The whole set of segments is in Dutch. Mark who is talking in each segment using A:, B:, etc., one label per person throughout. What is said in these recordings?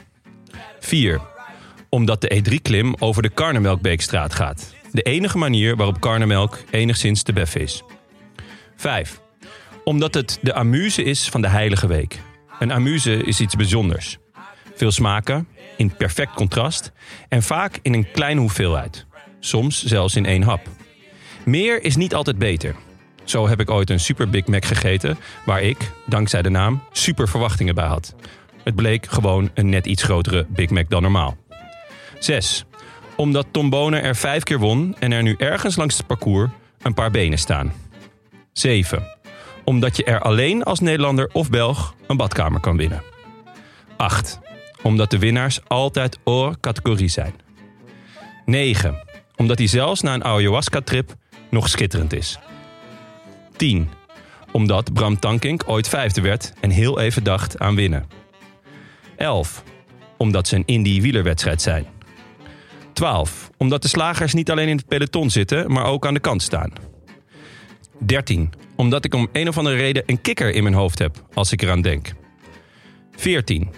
A: 4. Omdat de E3-klim over de Karnemelkbeekstraat gaat. De enige manier waarop Karnemelk enigszins te beffen is. 5. Omdat het de amuse is van de Heilige Week. Een amuse is iets bijzonders. Veel smaken, in perfect contrast en vaak in een kleine hoeveelheid. Soms zelfs in één hap. Meer is niet altijd beter. Zo heb ik ooit een Super Big Mac gegeten waar ik, dankzij de naam, super verwachtingen bij had. Het bleek gewoon een net iets grotere Big Mac dan normaal. 6. Omdat Tom Bonen er vijf keer won en er nu ergens langs het parcours een paar benen staan. 7 omdat je er alleen als Nederlander of Belg een badkamer kan winnen. 8. Omdat de winnaars altijd hors categorie zijn. 9. Omdat hij zelfs na een ayahuasca-trip nog schitterend is. 10. Omdat Bram Tankink ooit vijfde werd en heel even dacht aan winnen. 11. Omdat ze een indie-wielerwedstrijd zijn. 12. Omdat de slagers niet alleen in het peloton zitten, maar ook aan de kant staan. 13. Omdat ik om een of andere reden een kikker in mijn hoofd heb als ik eraan denk. 14.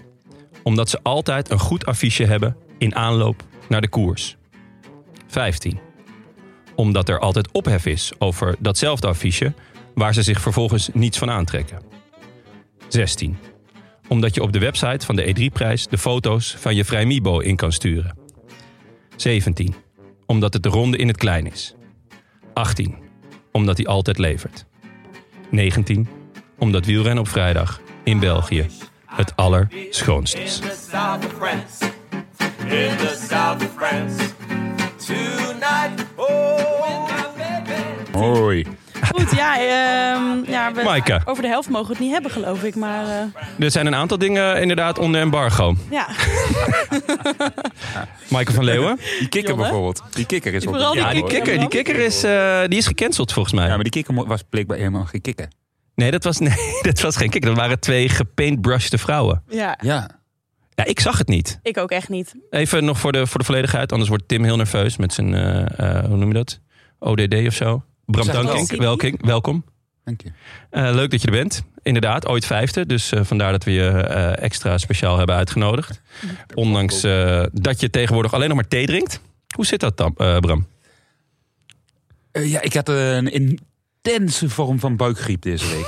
A: Omdat ze altijd een goed affiche hebben in aanloop naar de koers. 15. Omdat er altijd ophef is over datzelfde affiche waar ze zich vervolgens niets van aantrekken. 16. Omdat je op de website van de E3-prijs de foto's van je Vrijmibo in kan sturen. 17. Omdat het de ronde in het klein is. 18 omdat hij altijd levert. 19. Omdat wielrennen op vrijdag in België het allerschoonst is.
B: In the south of France, in the south of France, tonight, oh, my baby.
A: Hoi.
C: Goed, ja, ehm, ja we-
A: Maaike.
C: over de helft mogen we het niet hebben, geloof ik. Maar eh,
A: Er zijn een aantal dingen inderdaad onder embargo.
C: ja,
A: Michael van Leeuwen.
D: Die kikker
C: Jongen.
D: bijvoorbeeld. Die kikker is
C: Vooral die
A: Ja, die
C: kikker.
A: kikker, die kikker is, eh, die is gecanceld volgens mij.
D: Oh, Ja, maar die kikker mo- was blijkbaar helemaal geen kikker.
A: Nee, dat was, nee, dat was geen kikker. Dat waren twee gepaintbrushed vrouwen.
C: ja,
D: Ja.
A: Ja, ik zag het niet.
C: ik ook echt niet.
A: Even nog voor de, voor de volledigheid, anders wordt Tim heel nerveus met zijn, eh, eh, hoe noem je dat? ODD of zo. Bram
D: Zeg het
A: Dankink,
C: wel.
A: welkom. welkom.
D: Dank je.
A: Eh, leuk dat je er bent. Inderdaad, ooit vijfde. Dus eh, vandaar dat we je eh, extra speciaal hebben uitgenodigd. Ondanks eh, dat je tegenwoordig alleen nog maar thee drinkt. Hoe zit dat dan, eh, Bram?
D: Eh, ja, ik had een intense vorm van buikgriep deze week.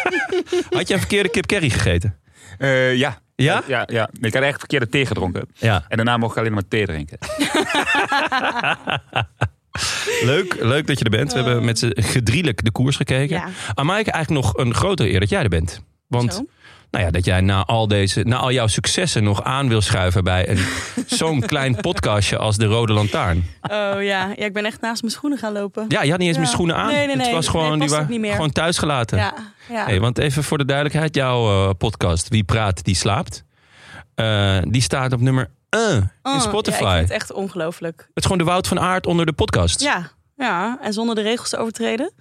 A: Had je een verkeerde kip curry gegeten?
D: Eh, ja.
A: Ja?
D: ja? Ja. Ik had echt verkeerde thee gedronken.
A: Ja.
D: En daarna mocht ik alleen maar thee drinken.
A: Leuk, leuk dat je er bent. We hebben met z'n gedrielijk de koers gekeken.
C: Ja.
A: Aan mij eigenlijk nog een grotere eer dat jij er bent. Want
C: Zo.
A: Nou ja, dat jij na al, deze, na al jouw successen nog aan wil schuiven bij een- zo'n klein podcastje als De Rode Lantaarn.
C: Oh ja. ja, ik ben echt naast mijn schoenen gaan lopen.
A: Ja, je had niet eens
C: Ja.
A: mijn schoenen aan.
C: Nee, nee,
A: Het
C: nee.
A: was gewoon,
C: Nee,
A: die
C: past ook
A: waren
C: niet meer.
A: gewoon thuisgelaten.
C: ja, ja.
A: Hey, want even voor de duidelijkheid, jouw eh, podcast Wie Praat, Die Slaapt, eh, die staat op nummer 1
C: Oh,
A: in
C: Ja, ik
A: Spotify.
C: vind het
A: het
C: echt ongelooflijk.
A: is gewoon de Wout van Aert onder de podcast.
C: Ja, ja. En zonder de regels te overtreden.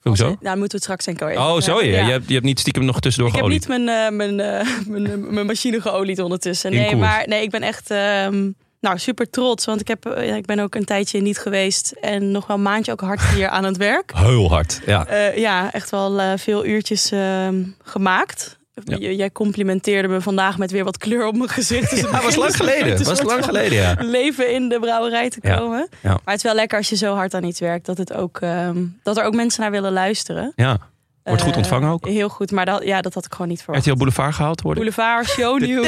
A: Hoezo?
C: Nou, daar moeten we het straks denk ik over even
A: Oh, zo je.
C: hebben. Ja.
A: Je, hebt, je hebt niet stiekem nog tussendoor
C: Ik heb
A: geolied.
C: niet mijn, eh, mijn, eh, mijn, eh, mijn machine geolied ondertussen.
A: In
C: Nee,
A: koers.
C: maar nee, ik ben echt ehm, nou, super trots. Want ik, heb, eh, ja, ik ben ook een tijdje niet geweest. En nog wel een maandje ook hard hier aan het werk.
A: Heel hard. Ja.
C: Eh, ja, echt wel eh, veel uurtjes ehm, gemaakt.
A: Ja.
C: J- Jij complimenteerde me vandaag met weer wat kleur op mijn gezicht. Dus het
A: Ja, was
C: begint
A: lang
C: dus met
A: geleden.
C: een
A: Was
C: soort
A: lang
C: van
A: geleden, ja.
C: leven in de brouwerij te
A: Ja,
C: komen.
A: ja.
C: Maar het is wel lekker als je zo hard aan iets werkt. Dat, het ook, ehm, dat er ook mensen naar willen luisteren.
A: ja. Wordt goed
C: Eh,
A: ontvangen ook.
C: Heel goed, maar dat, ja, dat had ik gewoon niet verwacht.
A: RTL Boulevard gehaald worden.
C: Boulevard, shownieuws.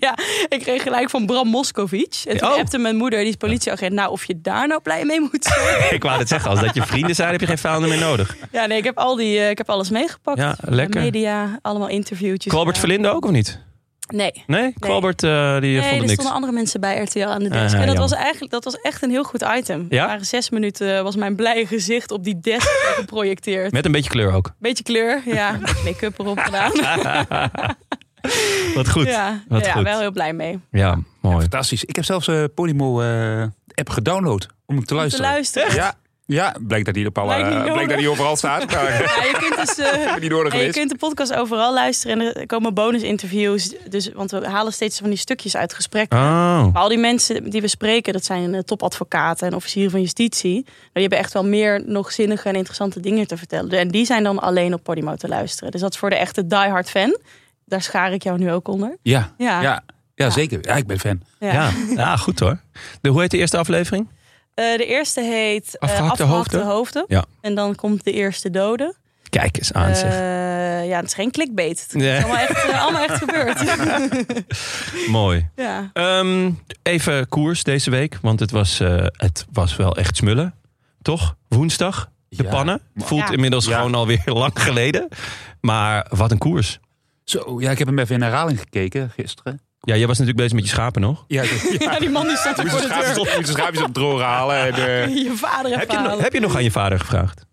C: ja, ik kreeg gelijk van Bram Moskovic. En toen
A: Oh.
C: appte mijn moeder, die is politieagent, nou of je daar nou blij mee moet zijn.
A: Ik wou het zeggen, als dat je vrienden zijn, heb je geen vijanden meer nodig.
C: ja, nee, ik heb, al die, eh, ik heb alles meegepakt.
A: Ja, lekker.
C: Media, allemaal interviewtjes.
A: Kwalbert
C: gedaan.
A: Verlinde ook of niet?
C: Nee.
A: Nee, Kwalbert eh, die
C: Nee,
A: vond
C: er
A: er niks.
C: stonden andere mensen bij RTL aan de
A: Ah,
C: desk. en dat
A: jammer.
C: was, eigenlijk, dat was echt een heel goed item.
A: Ja?
C: Er waren zes minuten was mijn blije gezicht op die desk geprojecteerd.
A: Met een beetje kleur ook.
C: Beetje kleur, ja. Make-up erop gedaan.
A: Wat goed.
C: ja,
A: Wat
C: ja
A: goed.
C: wel heel blij mee.
A: Ja, mooi.
D: Fantastisch. Ik heb zelfs eh Podimo eh, app gedownload om hem te
C: Te
D: luisteren.
C: luisteren.
D: Ja, ja, blijkt dat die op alle,
C: Blijkt niet
D: blijkt
C: nodig.
D: dat die overal staat. Maar ik
C: Ja, je kunt dus eh,
D: ben niet nodig
C: En je
D: geweest.
C: kunt de podcast overal luisteren en er komen bonus-interviews. Dus, want we halen steeds van die stukjes uit gesprekken.
A: Oh.
C: Maar al die mensen die we spreken, dat zijn eh, topadvocaten en officieren van justitie. Nou, die hebben echt wel meer nog zinnige en interessante dingen te vertellen. En die zijn dan alleen op Podimo te luisteren. Dus dat is voor de echte diehard fan. Daar schaar ik jou nu ook onder.
D: Ja,
C: Ja.
D: ja. ja. zeker. Ja, ik ben fan.
C: Ja.
A: Ja. ja, goed hoor. De, hoe heet de eerste aflevering?
C: Eh, de eerste heet eh,
A: Afgehakte hoofden. Ja.
C: En dan komt de eerste dode.
A: Kijk eens aan zeg.
C: Eh, ja, het is geen clickbait. Het
A: Nee.
C: is allemaal echt, eh, allemaal echt gebeurd.
A: Mooi.
C: ja.
A: Ehm, even koers deze week, want het was, eh, het was wel echt smullen. Toch? Woensdag, de
D: Ja.
A: pannen. Het voelt
C: Ja.
A: inmiddels
D: Ja.
A: gewoon alweer lang geleden. Maar wat een koers.
D: Zo, ja, ik heb hem even in herhaling gekeken gisteren.
A: Ja, jij was natuurlijk bezig met je schapen nog.
D: Ja, ik- ja.
C: Ja, die man die stond er
D: Moet
C: voor
D: je
C: de
D: schaapjes
C: deur.
D: op, moet je schaapjes op droog halen. En, eh,
C: Je vader heeft
A: Heb je,
C: verhalen.
A: nog- heb je nog aan je vader gevraagd?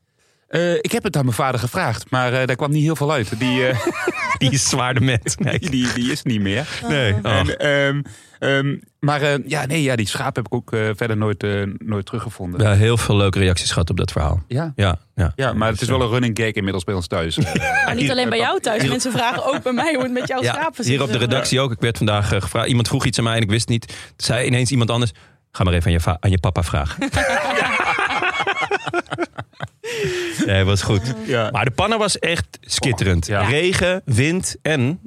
D: eh, ik heb het aan mijn vader gevraagd, maar eh, daar kwam niet heel veel uit. Die, eh,
A: Die is zwaarde met. Nee.
D: die, die is niet meer.
A: nee. Ach.
D: En, ehm, ehm, maar eh, ja, nee, ja, die schaap heb ik ook eh, verder nooit, eh, nooit teruggevonden.
A: Ja, heel veel leuke reacties gehad op dat verhaal.
D: Ja.
A: Ja, ja.
D: ja, maar het is wel een running gag inmiddels bij ons thuis. Eh,
C: Maar niet alleen bij jou thuis. Mensen vragen ook bij mij hoe het met jouw
A: Ja,
C: schapen zit. Eh,
A: hier op de redactie ook. Ik werd vandaag eh, gevraagd. Iemand vroeg iets aan mij en ik wist het niet. Toen zei ineens iemand anders. Ga maar even aan je, va- aan je papa vragen. nee, was goed.
D: ja.
A: Maar de pannen was echt skitterend.
D: Ja.
A: Regen, wind en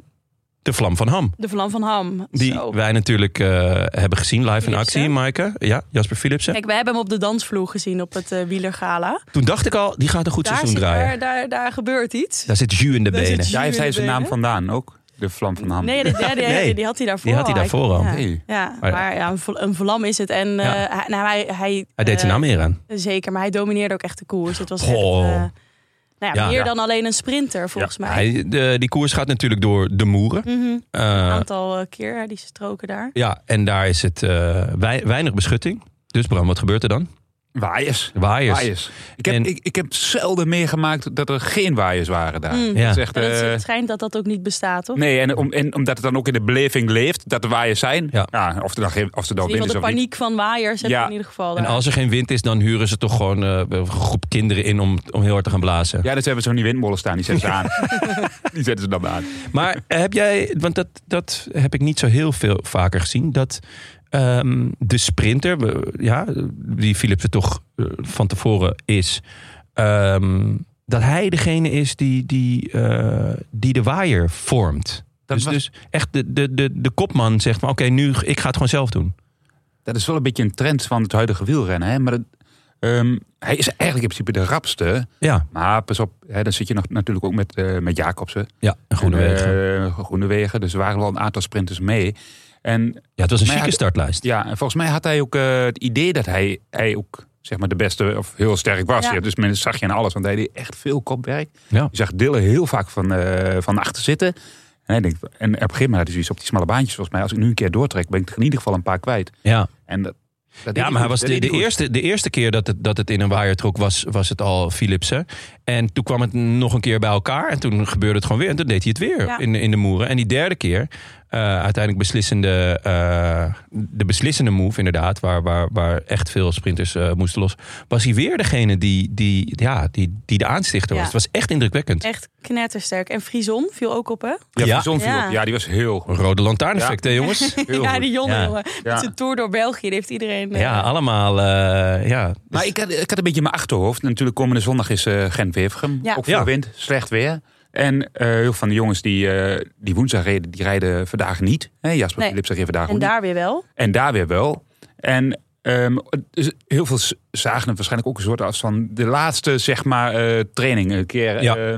A: de vlam van Ham.
C: De vlam van Ham.
A: Die
C: Zo.
A: wij natuurlijk eh, hebben gezien live in
C: Philipsen.
A: actie, Maaike. Ja, Jasper Philipsen.
C: Kijk, we hebben hem op de dansvloer gezien op het eh, wielergala.
A: Toen dacht ik al, die gaat een goed
C: Daar,
A: seizoen
C: zit,
A: draaien.
C: daar, daar, daar gebeurt iets.
A: Daar zit jus in de
C: Daar zit
A: benen.
C: jus.
D: Daar heeft hij zijn naam vandaan ook. De vlam van Ham.
C: Nee, de derde,
A: Nee.
C: die had hij daarvoor
A: Die had hij
C: al.
A: daarvoor al. Oh,
C: Ja,
D: Nee.
C: ja.
A: ja.
C: maar ja, een, vl- een vlam is het. En eh,
A: Ja.
C: hij, nou, hij, hij,
A: Hij deed zijn
C: eh,
A: naam eer aan.
C: Zeker, maar hij domineerde ook echt de koers. Het was echt...
A: Goh.
C: eh, nou ja,
A: Ja.
C: meer
A: Ja.
C: dan alleen een sprinter, volgens mij.
A: Hij, de, die koers gaat natuurlijk door de moeren.
C: Mhm.
A: Eh,
C: aantal eh, keer, die stroken daar.
A: ja, en daar is het eh, wei- weinig beschutting. Dus Bram, wat gebeurt er dan?
D: Waaiers.
A: Waaiers.
D: Waaiers. Ik heb,
A: En-
D: ik, ik heb zelden meegemaakt dat er geen waaiers waren daar.
C: Mm.
A: Ja.
D: Dat is echt,
C: Maar dat,
D: eh,
C: het schijnt dat dat ook niet bestaat, toch?
D: nee, en, om, en omdat het dan ook in de beleving leeft dat er waaiers zijn.
A: Ja.
D: Ja. of er dan, geen- of er dan
C: in ieder
D: wind is
C: geval
D: of
C: de
D: niet.
C: paniek van waaiers heb
D: Ja.
C: je in ieder geval. eh.
A: En
C: daar.
A: als er geen wind is, dan huren ze toch gewoon eh, een groep kinderen in om, om heel hard te gaan blazen.
D: Ja, dus hebben ze zo'n die windmolen staan. Die zetten ze aan. die zetten ze dan aan.
A: Maar heb jij, want dat, dat heb ik niet zo heel veel vaker gezien, dat ehm, de sprinter, we- ja, die Philipsen toch eh, van tevoren is, ehm, dat hij degene is die, die, eh, die de waaier vormt.
D: Dat
A: dus,
D: was-
A: dus echt de, de, de, de kopman zegt, maar oké, nu ik ga het gewoon zelf doen.
D: Dat is wel een beetje een trend van het huidige wielrennen. Hè? Maar dat, ehm, hij is eigenlijk in principe de rapste.
A: Ja,
D: Maar pas op, hè, dan zit je nog, natuurlijk ook met, eh, met Jacobsen.
A: ja een groene
D: En,
A: wegen.
D: eh, Groenewegen. Dus er waren wel een aantal sprinters mee. En
A: Ja, het was een
D: maar ja,
A: chique
D: de-
A: startlijst.
D: ja, en volgens mij had hij ook eh, het idee dat hij, hij ook zeg maar de beste of heel sterk was.
E: Ja.
D: Ja. dus men zag je aan alles, want hij deed echt veel kopwerk.
A: Ja.
D: Je zag Dillen heel vaak van, eh, van achter zitten. En, hij denkt, en op een gegeven moment had hij zoiets op die smalle baantjes. Volgens mij, als ik nu een keer doortrek, ben ik er in ieder geval een paar kwijt.
A: Ja.
D: En dat, dat deed
A: Ja,
D: goed.
A: maar hij was
D: Dat
A: de,
D: deed
A: de,
D: goed.
A: eerste, de eerste keer dat het, dat het in een waaier trok, was, was het al Philipsen. En toen kwam het nog een keer bij elkaar. En toen gebeurde het gewoon weer. En toen deed hij het weer
C: Ja.
A: in, in de moeren. En die derde keer, eh, uiteindelijk beslissende, eh, de beslissende move inderdaad... waar, waar, waar echt veel sprinters eh, moesten los... was hij weer degene die, die, ja, die, die de aanstichter
C: Ja.
A: was. Het was echt indrukwekkend.
C: Echt knettersterk. En Frison viel ook op, hè?
D: Ja,
A: Ja.
D: ja. Viel
C: Ja.
D: op. ja, die was heel goed.
A: Rode lantaarneffect, hè jongens?
D: Heel
C: ja,
D: goed.
C: die jongen,
A: Ja.
C: jongen. Met zijn tour door België, die heeft iedereen... eh,
A: Ja, ah, allemaal. eh, ja.
D: Maar ik had, ik had een beetje in mijn achterhoofd. En natuurlijk komende zondag is eh Gent-Wevergem.
C: Ja.
D: Ook veel
A: Ja.
D: wind, slecht weer. En eh, heel veel van de jongens die, eh, die woensdag reden, die rijden vandaag niet. Hè, Jasper
C: Nee.
D: Philipsen reed vandaag
C: En
D: ook niet.
C: daar weer wel.
D: En daar weer wel. En ehm, dus heel veel z- zagen het waarschijnlijk ook een soort als van de laatste zeg maar, eh, training. Een keer
A: Ja.
D: eh,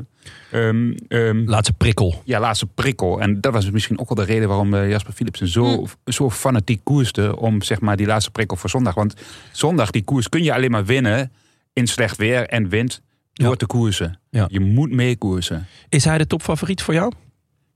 D: ehm, ehm,
A: Laatste prikkel.
D: ja, laatste prikkel. En dat was misschien ook wel de reden waarom eh, Jasper Philipsen zo, zo fanatiek koerste om zeg maar, die laatste prikkel voor zondag. Want zondag, die koers kun je alleen maar winnen in slecht weer en wind door
A: Ja.
D: te koersen.
A: Ja.
D: Je moet meekoersen.
A: Is hij de topfavoriet voor jou?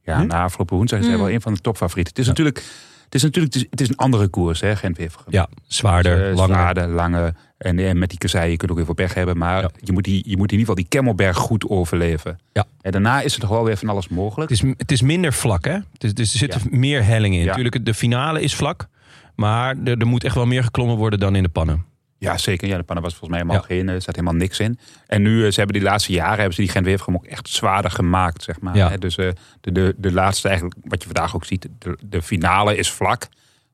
D: Ja,
A: Hm?
D: na afgelopen woensdag is hij wel een van de topfavorieten. Het is natuurlijk, het is natuurlijk het is, het is een andere koers, hè, Gent-Wevergem.
A: Ja, zwaarder,
D: Eh,
A: langer.
D: zwaarder, lange. En eh, met die kazei, je kunt ook heel veel pech hebben. Maar
A: Ja.
D: je, moet die, je moet in ieder geval die Kemmelberg goed overleven.
A: Ja.
D: En daarna is er toch wel weer van alles mogelijk.
A: Het is, het is minder vlak, hè? Het is, dus er zitten meer hellingen in.
D: Ja.
A: Natuurlijk, de finale is vlak. Maar er, er moet echt wel meer geklommen worden dan in de pannen.
D: Ja, zeker. Ja, de pannen was volgens mij helemaal geen. eh, Er zat helemaal niks in. En nu, eh, ze hebben die laatste jaren, hebben ze die gent ook echt zwaarder gemaakt, zeg maar.
A: Ja.
D: Hè, Dus eh, de, de, de laatste eigenlijk, wat je vandaag ook ziet, de, de finale is vlak.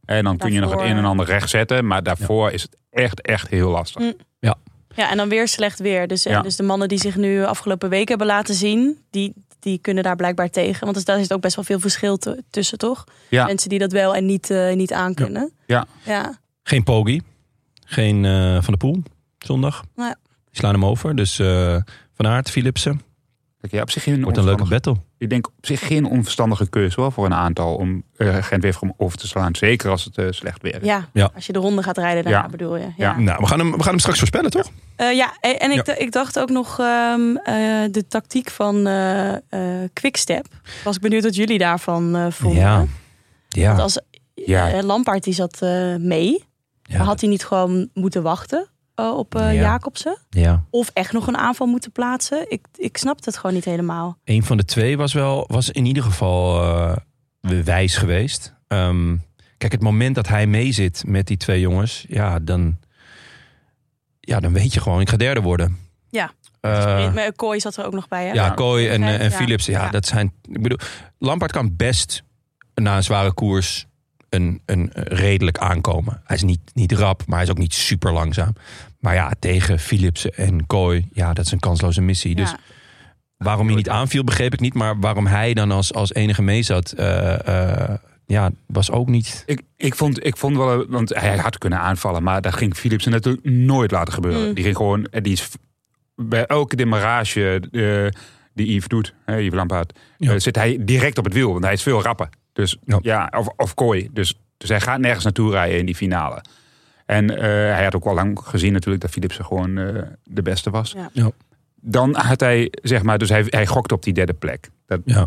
D: En dan kun je nog het
C: Daarvoor-
D: een en ander recht zetten. Maar daarvoor is het echt, echt heel lastig.
C: Mm. Ja, en dan weer slecht weer. Dus, eh,
D: Ja.
C: dus de mannen die zich nu afgelopen week hebben laten zien, die, die kunnen daar blijkbaar tegen. Want dus daar zit ook best wel veel verschil te- tussen, toch?
D: Ja.
C: Mensen die dat wel en niet, eh, niet aankunnen.
D: Ja.
C: ja.
A: Geen Pogi. Geen eh, Van de Poel zondag.
C: Nee.
A: Die slaan hem over. Dus eh, Van Aert, Philipsen.
D: Kijk, ja, op zich geen
A: Wordt een leuke
D: onverstandige-
A: battle.
D: Ik denk op zich geen onverstandige keuze hoor, voor een aantal om eh Gent-Wevergem over te slaan. Zeker als het eh, slecht weer is.
C: Ja.
A: Ja.
C: als je de ronde gaat rijden, daarna
D: Ja.
C: bedoel je. Ja,
D: Ja.
A: Nou, we gaan, hem, we gaan hem straks voorspellen, toch?
C: Eh, ja, en en ik,
A: Ja.
C: d- ik dacht ook nog ehm, eh, de tactiek van eh eh, Quickstep. Was ik benieuwd wat jullie daarvan eh, vonden.
A: Ja.
C: Want
A: Ja.
C: als
D: Ja.
C: eh, Lampaard die zat eh, mee, maar
A: Ja.
C: had hij niet gewoon moeten wachten eh, op eh,
A: Ja.
C: Jacobsen?
A: ja.
C: of echt nog een aanval moeten plaatsen. Ik, ik snap het gewoon niet helemaal.
A: Een van de twee was wel, was in ieder geval eh, wijs geweest. Ehm, kijk, het moment dat hij meezit met die twee jongens, ja, dan, ja, dan weet je gewoon, ik ga derde worden.
C: Ja.
A: Eh,
C: Maar Kooi zat er ook nog bij, hè?
A: ja, Kooi en, eh, en
C: Ja.
A: Philips, ja,
C: Ja.
A: dat zijn, ik bedoel, Lampard kan best na een zware koers een, een eh, redelijk aankomen. Hij is niet, niet rap, maar hij is ook niet super langzaam. Maar ja, tegen Philipsen en Kooi, ja, dat is een kansloze missie. Dus
C: Ja.
A: Waarom hij niet aanviel, begreep ik niet. Maar waarom hij dan als, als enige mee zat, eh, eh, ja, was ook niet.
D: Ik, ik, vond, ik vond wel, eh, want hij had kunnen aanvallen, maar dat ging Philipsen natuurlijk nooit laten gebeuren.
C: Mm.
D: Die ging gewoon, eh, die is f- bij elke demarage eh, die Yves doet, hè, Yves Lampaard,
A: Ja.
D: eh, zit hij direct op het wiel, want hij is veel rapper. Dus
A: Ja.
D: ja, of, of kooi. Dus, dus hij gaat nergens naartoe rijden in die finale. En eh, hij had ook al lang gezien natuurlijk dat Philipsen gewoon eh, de beste was.
C: Ja.
A: Ja.
D: Dan had hij, zeg maar, dus hij, hij gokte op die derde plek. Dat,
A: Ja.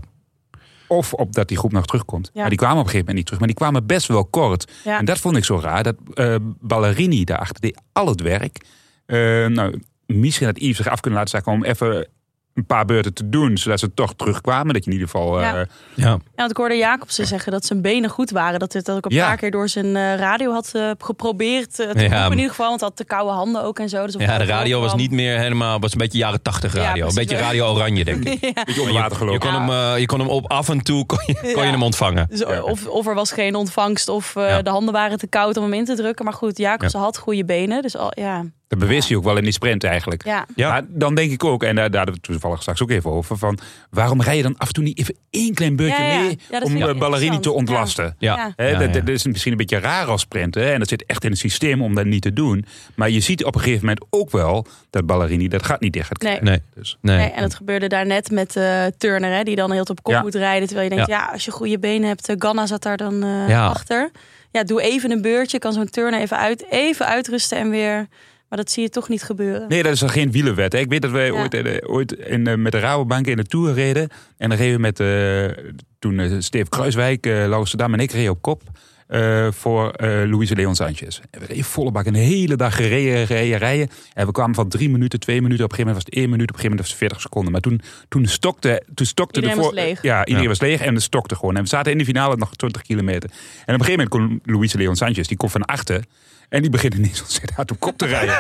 D: of op dat die groep nog terugkomt.
C: Ja.
D: Maar die kwamen op een gegeven moment niet terug. Maar die kwamen best wel kort.
C: Ja.
D: En dat vond ik zo raar. Dat eh, Ballerini daarachter deed al het werk. Eh, nou, misschien had Yves zich af kunnen laten zakken om even een paar beurten te doen. Zodat ze toch terugkwamen. Dat je in ieder geval... eh,
C: Ja.
A: Ja,
C: Ja, want ik hoorde Jacobsen zeggen dat zijn benen goed waren. Dat het ook een
D: Ja.
C: paar keer door zijn eh, radio had eh, geprobeerd eh, te
A: Ja,
C: roepen in
A: maar-
C: ieder geval. Want hij had de koude handen ook en zo. Dus op
A: ja de
C: het
A: radio was
C: kwam-
A: niet meer helemaal. was een beetje jaren tachtig
C: Ja,
A: radio. een
C: precies.
A: beetje radio oranje, denk ik.
C: Ja.
D: beetje onder water
A: Je
D: gelopen.
A: kon, hem, eh, je kon hem op af en toe kon je, kon je
C: Ja.
A: hem ontvangen.
C: Dus of, of er was geen ontvangst of eh,
A: Ja.
C: de handen waren te koud om hem in te drukken. Maar goed, Jacobsen had goede benen. Dus al, ja.
D: Dat bewees hij ook wel in die sprint eigenlijk.
C: Ja.
A: Ja.
D: Maar dan denk ik ook, en daar, daar hadden we het toevallig straks ook even over... van waarom rij je dan af en toe niet even één klein beurtje
C: Ja, ja.
D: mee...
C: Ja, dat
D: om
C: vind ik
D: eh, Ballerini
C: interessant.
D: te
C: Ja.
D: ontlasten?
A: Ja,
C: Ja.
D: Hè,
A: Ja,
D: dat,
A: ja.
D: dat is misschien een beetje raar als sprinten. hè, En dat zit echt in het systeem om dat niet te doen. Maar je ziet op een gegeven moment ook wel dat Ballerini dat gaat niet dicht gaat
C: Nee.
D: krijgen.
A: Nee.
D: Dus.
A: Nee.
C: Nee, en dat gebeurde daar net met eh, Turner, hè, die dan heel op kop
D: Ja.
C: moet rijden. Terwijl je denkt, ja, als je goede benen hebt, eh, Ganna zat daar dan eh,
A: Ja.
C: achter. Ja, doe even een beurtje, kan zo'n Turner even, uit, even uitrusten en weer. Maar dat zie je toch niet gebeuren.
D: Nee, dat is dan geen wielerwet. Hè. Ik weet dat wij
C: Ja.
D: ooit, eh, ooit in, eh, met de Rabobank in de Tour reden. En dan reden we met eh, toen eh, Steve Kruiswijk, eh Laurens de Dam en ik reden op kop. eh, voor eh Luis Leon Sanchez. En we reden volle bak een hele dag gereden, rijden, rijden. En we kwamen van drie minuten, twee minuten. Op een gegeven moment was het één minuut, op een gegeven moment was het veertig seconden. Maar toen, toen stokte, toen stokte
C: Iedereen
D: de voor...
C: was leeg.
D: Ja, iedereen
A: Ja.
D: was leeg en het stokte gewoon. En we zaten in de finale nog 20 kilometer. En op een gegeven moment kon Luis Leon Sanchez, die komt van achter. En die begint ineens ontzettend hard op kop te rijden.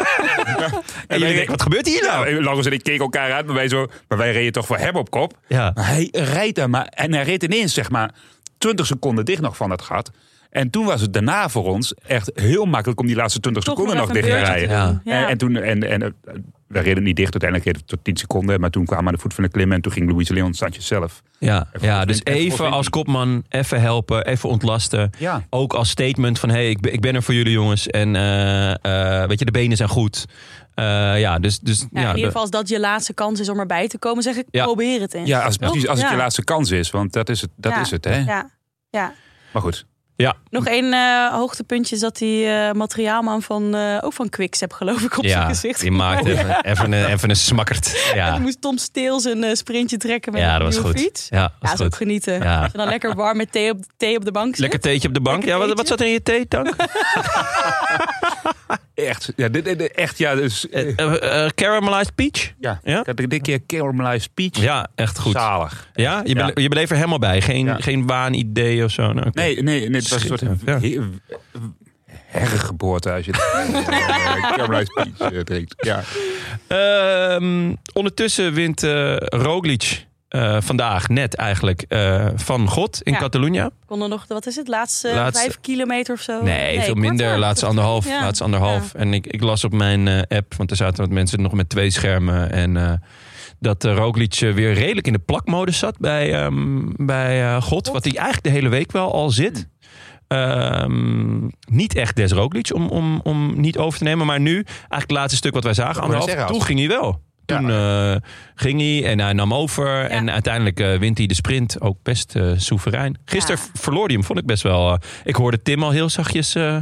A: En jullie denken, wat gebeurt hier nou?
D: Ja, Laurens en ik keken elkaar uit, maar wij, zo, maar wij reden toch voor hem op kop.
A: Ja.
D: Maar hij rijdt daar maar. En hij reed ineens, zeg maar, 20 seconden dicht nog van dat gat. En toen was het daarna voor ons echt heel makkelijk om die laatste 20
C: Toch
D: seconden
C: nog
D: nog
C: even
D: dicht te
C: een beurtje
D: rijden.
A: te
C: doen. Ja.
D: En, en toen, en, en eh, we reden niet dicht, uiteindelijk reden we tot 10 seconden. Maar toen kwamen we aan de voet van de klim en toen ging Luis Leon Sanchez zelf.
A: Ja, ja, dus
D: even
A: even
D: opwinden.
A: als kopman, even helpen, even ontlasten.
D: Ja.
A: Ook als statement van, hé, hey, ik, ben- ik ben er voor jullie jongens. En eh, eh, weet je, de benen zijn goed. Eh, ja, dus... dus
C: Ja,
A: ja,
C: in
A: de-
C: ieder geval als dat je laatste kans is om erbij te komen, zeg ik
A: Ja.
C: probeer het eens.
D: Ja, als,
C: Toch?
D: precies als het
C: Ja.
D: je laatste kans is, want dat is het, dat
C: Ja.
D: is het hè.
C: Ja. ja.
D: Maar goed,
A: ja,
C: Nog één eh, hoogtepuntje is dat die eh, materiaalman van, eh, ook van Quickstep geloof ik op zijn
A: ja
C: gezicht. Oh,
A: die maakt even, even, een, even een smakkert.
C: En
A: Ja,
C: moest Tom Steels een eh, sprintje trekken met
A: ja
C: een
A: dat was
C: nieuwe
A: goed.
C: fiets.
A: Ja,
C: Ja,
A: was
C: dat is ook
A: goed.
C: genieten.
A: Ja.
C: Als je dan lekker warm met thee op, thee op de bank zit.
A: Lekker theetje op de bank. Ja, wat, wat zat er in je thee, Tank?
D: echt. Ja, dit, dit- echt, ja, dus,
A: Eh, eh, eh, caramelized peach?
D: ja.
A: Ja?
D: Ik had dit keer caramelized peach.
A: Ja, echt goed.
D: Zalig.
A: Ja? Je,
D: Ja.
A: bele- je beleeft er helemaal bij. Geen,
D: Ja.
A: geen waanidee of zo. Nou, oké.
D: Nee, nee, nee, het was een soort
A: Schitterend,
D: he- hergeboorte als je eh, caramelized peach eh, drinkt. Ja.
A: Ehm, ondertussen wint eh, Roglic eh, vandaag, net eigenlijk, eh, van God in
C: Ja.
A: Catalunya.
C: Konden nog, wat is het, laatste,
A: Laatste-
C: vijf kilometer of zo?
A: Nee, veel
C: kort
A: minder.
C: maar.
A: Laatste anderhalf.
C: Ja.
A: Laatste anderhalf. En ik, ik las op mijn eh, app, want er zaten wat mensen nog met twee schermen. En eh, dat eh, Roglic eh, weer redelijk in de plakmodus zat bij, ehm, bij eh, God. Wat hij eigenlijk de hele week wel al zit.
C: Hm.
A: Ehm, niet echt des Roglic om, om, om niet over te nemen. Maar nu, eigenlijk het laatste stuk wat wij zagen,
D: wou net
A: anderhalf,
D: zeggen, als-
A: toen ging hij wel. Toen eh, ging hij en hij nam over. En uiteindelijk eh, wint hij de sprint ook best eh, soeverein. Gisteren
C: Ja.
A: v- verloor hij hem, vond ik best wel. eh, ik hoorde Tim al heel zachtjes. eh,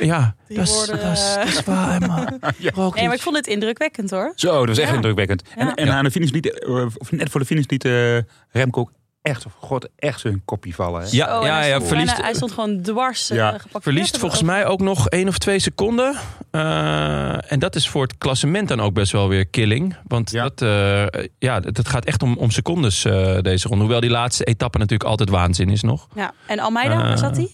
A: ja,
C: Die
A: dat is-
C: woorden,
A: dat is-
C: eh.
A: dat is waar, man. Roglic.
C: Nee, maar ik vond het indrukwekkend hoor.
D: Zo, dat was echt
C: Ja.
D: indrukwekkend.
C: Ja.
D: En, en aan de finish liet, eh, of net voor de finish liet eh, Remco ook echt, oh god, echt zijn kopje vallen. Hè.
A: Ja,
C: Oh, en
A: ja,
C: hij
A: ja,
C: stond
A: verliest,
C: bijna- hij stond gewoon dwars eh,
D: Ja.
C: gepakt.
A: verliest
C: Ja,
A: volgens
C: dat-
A: mij ook nog één of twee seconden. Eh, en dat is voor het klassement dan ook best wel weer killing. Want
D: Ja.
A: dat, eh, ja, dat dat gaat echt om, om secondes eh, deze ronde. Hoewel die laatste etappe natuurlijk altijd waanzin is nog.
C: Ja. En Almeida, waar
A: Eh,
C: zat hij?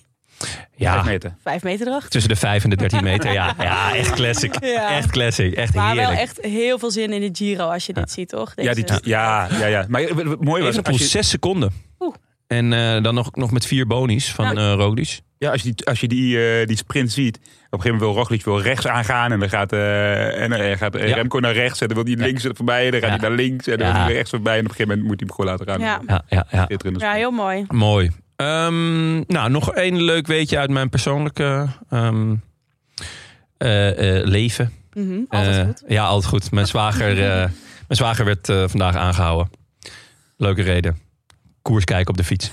A: Ja,
D: Vijf meter.
C: Vijf meter erachter.
A: Tussen de 5 en de 13 meter, ja. Ja, echt classic.
C: Ja.
A: Echt classic. Echt
C: Maar
A: heerlijk.
C: wel echt heel veel zin in de Giro als je dit ziet, toch?
D: Ja,
C: Deze-
D: die, ja, ja, ja. Maar eh, wat- wat mooi was,
A: Evenepoel,
D: als je,
A: 6 seconden.
C: Oeh.
A: En eh, dan nog, nog met vier bonies van eh Roglic.
D: ja, als je, die, als je die, eh, die sprint ziet, op een gegeven moment wil Roglic wil rechts aangaan en dan gaat, eh, en, eh, gaat eh,
A: Ja.
D: Remco naar rechts en dan wil hij links er voorbij en dan gaat
A: Ja.
D: hij naar links en dan
A: Ja.
D: wil hij weer rechts voorbij en op een gegeven moment moet hij hem gewoon laten gaan.
C: Ja.
A: Ja, ja, ja.
D: Dit erin is-
C: Ja, heel mooi.
A: Mooi. Ehm, nou, nog één leuk weetje uit mijn persoonlijke ehm, eh, eh, leven.
C: Mhm, Altijd
A: Eh,
C: goed.
A: Ja, altijd goed. Mijn zwager, eh, mijn zwager werd eh, vandaag aangehouden. Leuke reden. Koers kijken op de fiets.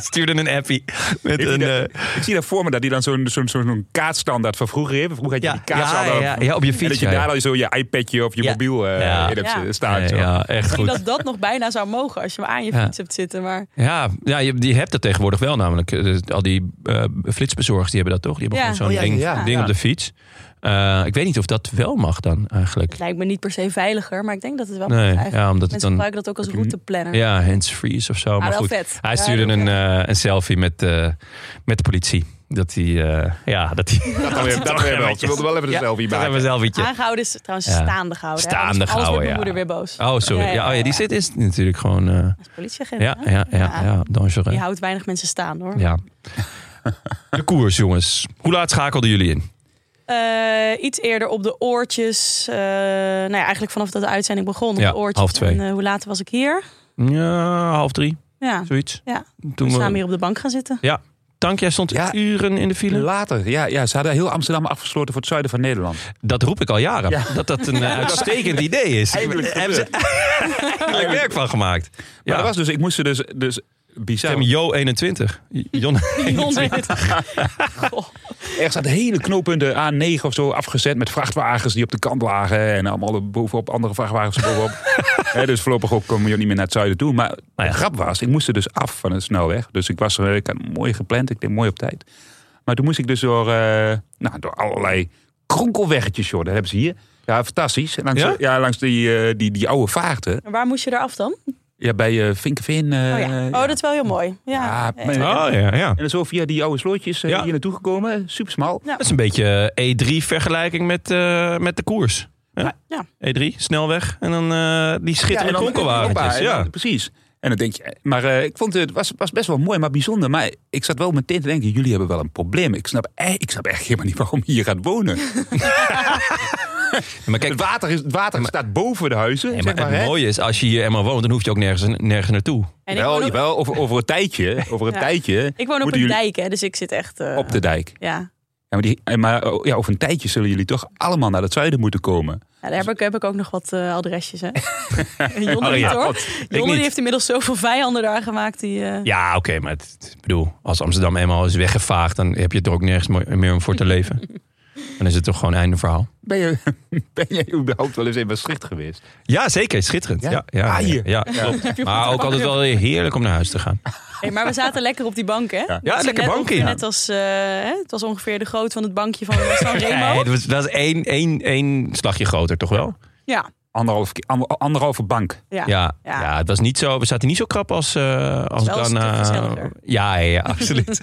A: Stuurde een appie. Met
D: Ik
A: een,
D: zie
A: eh,
D: dat- Ik zie daar voor me dat die dan zo'n zo'n zo'n kaartstandaard van vroeger heeft. Vroeger had je
A: ja,
D: die
A: ja,
D: kaartstandaard.
A: ja, ja, op je
D: En
A: fiets.
D: dat je
A: ja.
D: daar al zo je iPadje of je
A: Ja.
D: mobiel eh,
A: Ja.
D: in hebt
C: Ja.
D: staan.
A: Nee,
D: zo.
A: ja, echt
C: Ik
A: goed.
C: dat dat nog bijna zou mogen als je hem aan je
A: Ja.
C: fiets hebt zitten. Maar
A: Ja, ja je, die hebt dat tegenwoordig wel namelijk. Eh, Al die eh, flitsbezorgers die hebben dat toch? Die hebben
C: Ja.
A: gewoon zo'n
D: Oh, ja,
A: ding,
D: ja, ja.
A: ding
D: Ja.
A: op de fiets. Eh, ik weet niet of dat wel mag dan eigenlijk.
C: het lijkt me niet per se veiliger. Maar ik denk dat het wel
A: Nee,
C: mag.
A: ja, omdat het
C: Mensen
A: dan...
C: gebruiken dat ook als routeplanner.
A: Ja, hands-free is of zo.
C: Ah,
A: Maar
C: wel
A: goed,
C: vet.
A: hij
C: Ja,
A: stuurde
C: heel
A: een, eh, een selfie met, eh, met de politie. Dat hij... eh, ja, dat hij...
D: Dat dan weer- dat weer wel. Ze wilden wel even een
A: Ja,
D: selfie
A: dat hebben we
D: maken.
A: een selfietje.
C: Aangehouden is trouwens
A: Ja.
C: staande gehouden. hè.
A: Staande
C: Anders- anders wordt
A: gehouden,
C: mijn
A: ja.
C: moeder weer boos.
A: Oh, sorry. Ja, oh, ja, die zit is natuurlijk gewoon... eh,
C: Als politieagent.
A: ja,
C: hè?
A: ja, ja, ja,
C: Ja.
A: dangereux.
C: Die houdt weinig mensen staan hoor.
A: Ja. De koers, jongens. Hoe laat schakelden jullie in?
C: Eh, iets eerder op de oortjes. eh, nou ja, eigenlijk vanaf dat de uitzending begon. Op
A: Ja,
C: de oortjes.
A: half twee.
C: En, eh, hoe laat was ik hier?
A: Ja, half drie,
C: Ja,
A: zoiets.
C: Ja. we
A: Toen
C: staan
A: we...
C: hier op de bank gaan zitten.
A: Tank, jij stond
D: Ja.
A: uren in de file.
D: Later, ja, ja, ze hadden heel Amsterdam afgesloten voor het zuiden van Nederland.
A: Dat roep ik al jaren.
D: Ja.
A: Dat dat een eh, uitstekend idee is.
D: Eindelijk
A: Hebben ze eindelijk werk van gemaakt.
D: Maar
A: Ja,
D: dat was dus, ik moest ze dus, dus
A: Ik
D: bizar.
A: heb Jo 21. Jon 21.
C: Goh.
D: Ergens aan de hele knooppunten A9 of zo afgezet met vrachtwagens die op de kant lagen. En allemaal er bovenop, andere vrachtwagens er bovenop. Hè, dus voorlopig ook kom je ook niet meer naar het zuiden toe. Maar
A: Nou
D: de grap was, ik moest er dus af van de snelweg. Dus ik was er, ik had het mooi gepland, ik deed mooi op tijd. Maar toen moest ik dus door, eh, nou, door allerlei kronkelweggetjes, joh. Dat hebben ze hier. Ja, fantastisch. Langs,
A: Ja?
D: ja? langs die, eh, die, die oude vaarten.
C: En waar moest je eraf dan?
D: Ja, bij eh Vinkeveen. eh,
C: Oh ja. Oh, dat is wel heel mooi. Ja.
D: ja, maar-
A: Oh ja, ja.
D: En zo via die oude slootjes eh,
A: Ja.
D: hier naartoe gekomen. Super smal.
A: Dat is een beetje eh, E3-vergelijking met, eh, met de koers. Ja.
C: Ja.
A: E3, snelweg. En dan eh, die schitterende
D: en dan-
A: kronkelwagentjes.
D: Hoppa, en
A: Ja.
D: dan- Precies. En dan denk je, maar eh, ik vond het, was, was best wel mooi, maar bijzonder. Maar ik zat wel meteen te denken, jullie hebben wel een probleem. Ik snap, eh, ik snap echt helemaal niet waarom je hier gaat wonen.
A: Maar
D: Kijk,
A: kijk,
D: het water, is, het water staat boven de huizen.
A: nee,
D: zeg
A: maar
D: maar, hè.
A: het mooie is, als je hier eenmaal woont, dan hoef je ook nergens, nergens naartoe.
C: En ik
D: wel,
C: woon op,
D: jawel, over, over een tijdje, over een
C: Ja.
D: tijdje
C: ik woon op
D: moeten
C: een
D: jullie-
C: dijk, hè, dus ik zit echt... eh,
D: op de dijk.
C: Ja,
D: Ja, maar, die, eh, maar oh, ja, over een tijdje zullen jullie toch allemaal naar het zuiden moeten komen.
C: Ja, daar heb ik, heb ik ook nog wat eh, adresjes, hè. Jonne
A: Oh, ja.
C: niet, hoor.
A: God, ik
C: Jonne die
A: niet.
C: heeft inmiddels zoveel vijanden daar gemaakt. Die, eh,
A: Ja, oké, maar het, het- ik bedoel, als Amsterdam eenmaal is weggevaagd, dan heb je het er ook nergens mo- meer om voor te leven. Dan is het toch gewoon einde verhaal.
D: Ben, je, ben jij überhaupt wel eens in Maastricht geweest?
A: Ja, zeker. Schitterend. Ja,
D: Ja?
A: ja, ja,
D: Ah, hier.
A: ja, klopt. Maar ook altijd wel weer heerlijk om naar huis te gaan.
C: hey, maar we zaten lekker op die bank, hè? Dat
A: Ja,
C: is
A: lekker
C: net
A: bank
C: ongeveer
A: in.
C: Net als, eh, hè, het was ongeveer de grootte van het bankje van eh, San
A: Nee,
C: Remo.
A: dat was, dat was één, één, één slagje groter, toch wel?
C: Ja,
D: Anderhalf, ki- ander- anderhalve bank.
C: ja.
A: Ja, ja.
C: Ja.
A: het was niet zo, we zaten niet zo krap als, eh als
C: wel een
A: dan...
C: stuk
A: eh,
C: gezelliger.
A: ja, ja, ja, absoluut.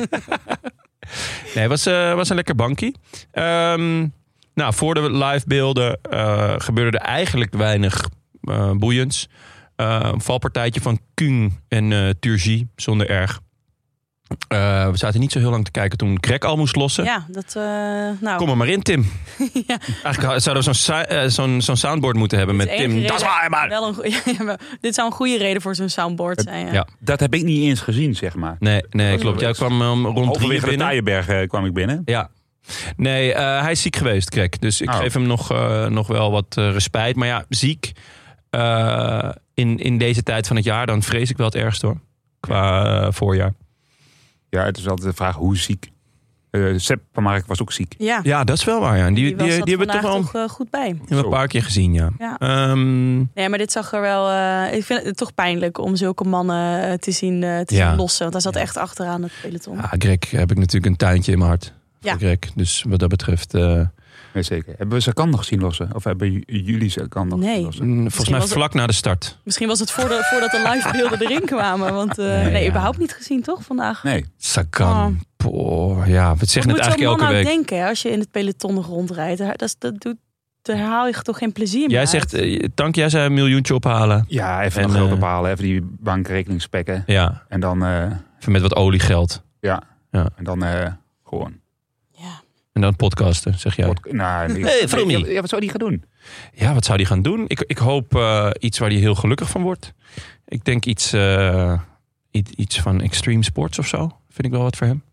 A: nee, het was, eh, was een lekker bankie. Ehm, nou, voor de livebeelden eh, gebeurde er eigenlijk weinig eh boeiends. Eh, een valpartijtje van Kung en eh Turgie, zonder erg. Eh, we zaten niet zo heel lang te kijken toen Greg al moest lossen.
C: Ja, dat... eh, nou,
A: Kom er maar in, Tim.
C: Ja.
A: Eigenlijk zouden we zo'n si- eh, zo'n- zo'n soundboard moeten hebben
C: Dit
A: met
C: is de
A: Tim.
C: enige
A: Dat is
C: reden-
A: waar, maar.
C: Wel een goeie- ja, maar dit zou een goede reden voor zo'n soundboard zijn. Ja.
A: Ja.
D: Dat heb ik niet eens gezien, zeg maar.
A: Nee, nee
D: Dat
A: klopt.
D: is
A: Jij
D: wel
A: kwam um, rond drie
D: Overwege de
A: binnen.
D: Taaienberg eh, kwam ik binnen.
A: Ja. Nee, eh, hij is ziek geweest, Krek. Dus ik
D: Oh.
A: geef hem nog, eh, nog wel wat eh, respijt. Maar ja, ziek eh, in, in deze tijd van het jaar, dan vrees ik wel het ergste hoor. Qua eh, voorjaar.
D: Ja, het is altijd de vraag hoe ziek. Eh Sepp van Mark was ook ziek.
C: Ja,
A: Ja, dat is wel waar. Ja. En Die, die,
C: die, was
A: die,
C: dat
A: hebben we toch
C: vandaag
A: wel
C: toch eh, goed bij.
A: hebben we een paar keer gezien, ja.
C: Ja.
A: Ehm,
C: Nee, maar dit zag er wel... eh, ik vind het toch pijnlijk om zulke mannen eh, te zien, eh, te
A: Ja.
C: zien lossen. Want hij zat echt achteraan het peloton.
A: ja, ah, Greg heb ik natuurlijk een tuintje in mijn hart.
C: Ja.
A: Ja. Greg. Dus wat dat betreft, eh,
D: Nee, zeker. Hebben we Sakan nog zien lossen? Of hebben j- jullie Sakan nog
C: Nee.
D: zien lossen?
A: volgens
C: Misschien
A: mij
C: was het-
A: vlak na de start.
C: Misschien was het voor de- voordat de livebeelden erin kwamen. Want eh,
A: Nee,
C: nee,
A: ja.
C: überhaupt niet gezien, toch, vandaag?
D: Nee.
A: Sagan. Poh, ja, we zeggen het
C: Oh. Wat moet
A: eigenlijk
C: zo'n
A: elke
C: man
A: week.
C: aan denken hè, als je in het peloton rondrijdt? Daar- Dat, is- dat doet, daar haal je toch geen plezier meer
A: Jij
C: uit?
A: zegt, eh, Tank, jij zei een miljoentje ophalen.
D: Ja, even
A: En,
D: nog geld
A: eh,
D: ophalen. Even die bankrekening spekken.
A: Ja,
D: En dan, eh,
A: even met wat oliegeld.
D: en dan eh, gewoon.
C: Ja.
A: En dan podcasten, zeg jij.
D: Wat- nou, ik-
A: Nee, waarom niet?
D: Ja, wat zou die gaan doen?
A: Ja, wat zou die gaan doen? Ik, ik hoop eh, iets waar hij heel gelukkig van wordt. Ik denk iets, eh, iets, iets van extreme sports of zo. Vind ik wel wat voor hem.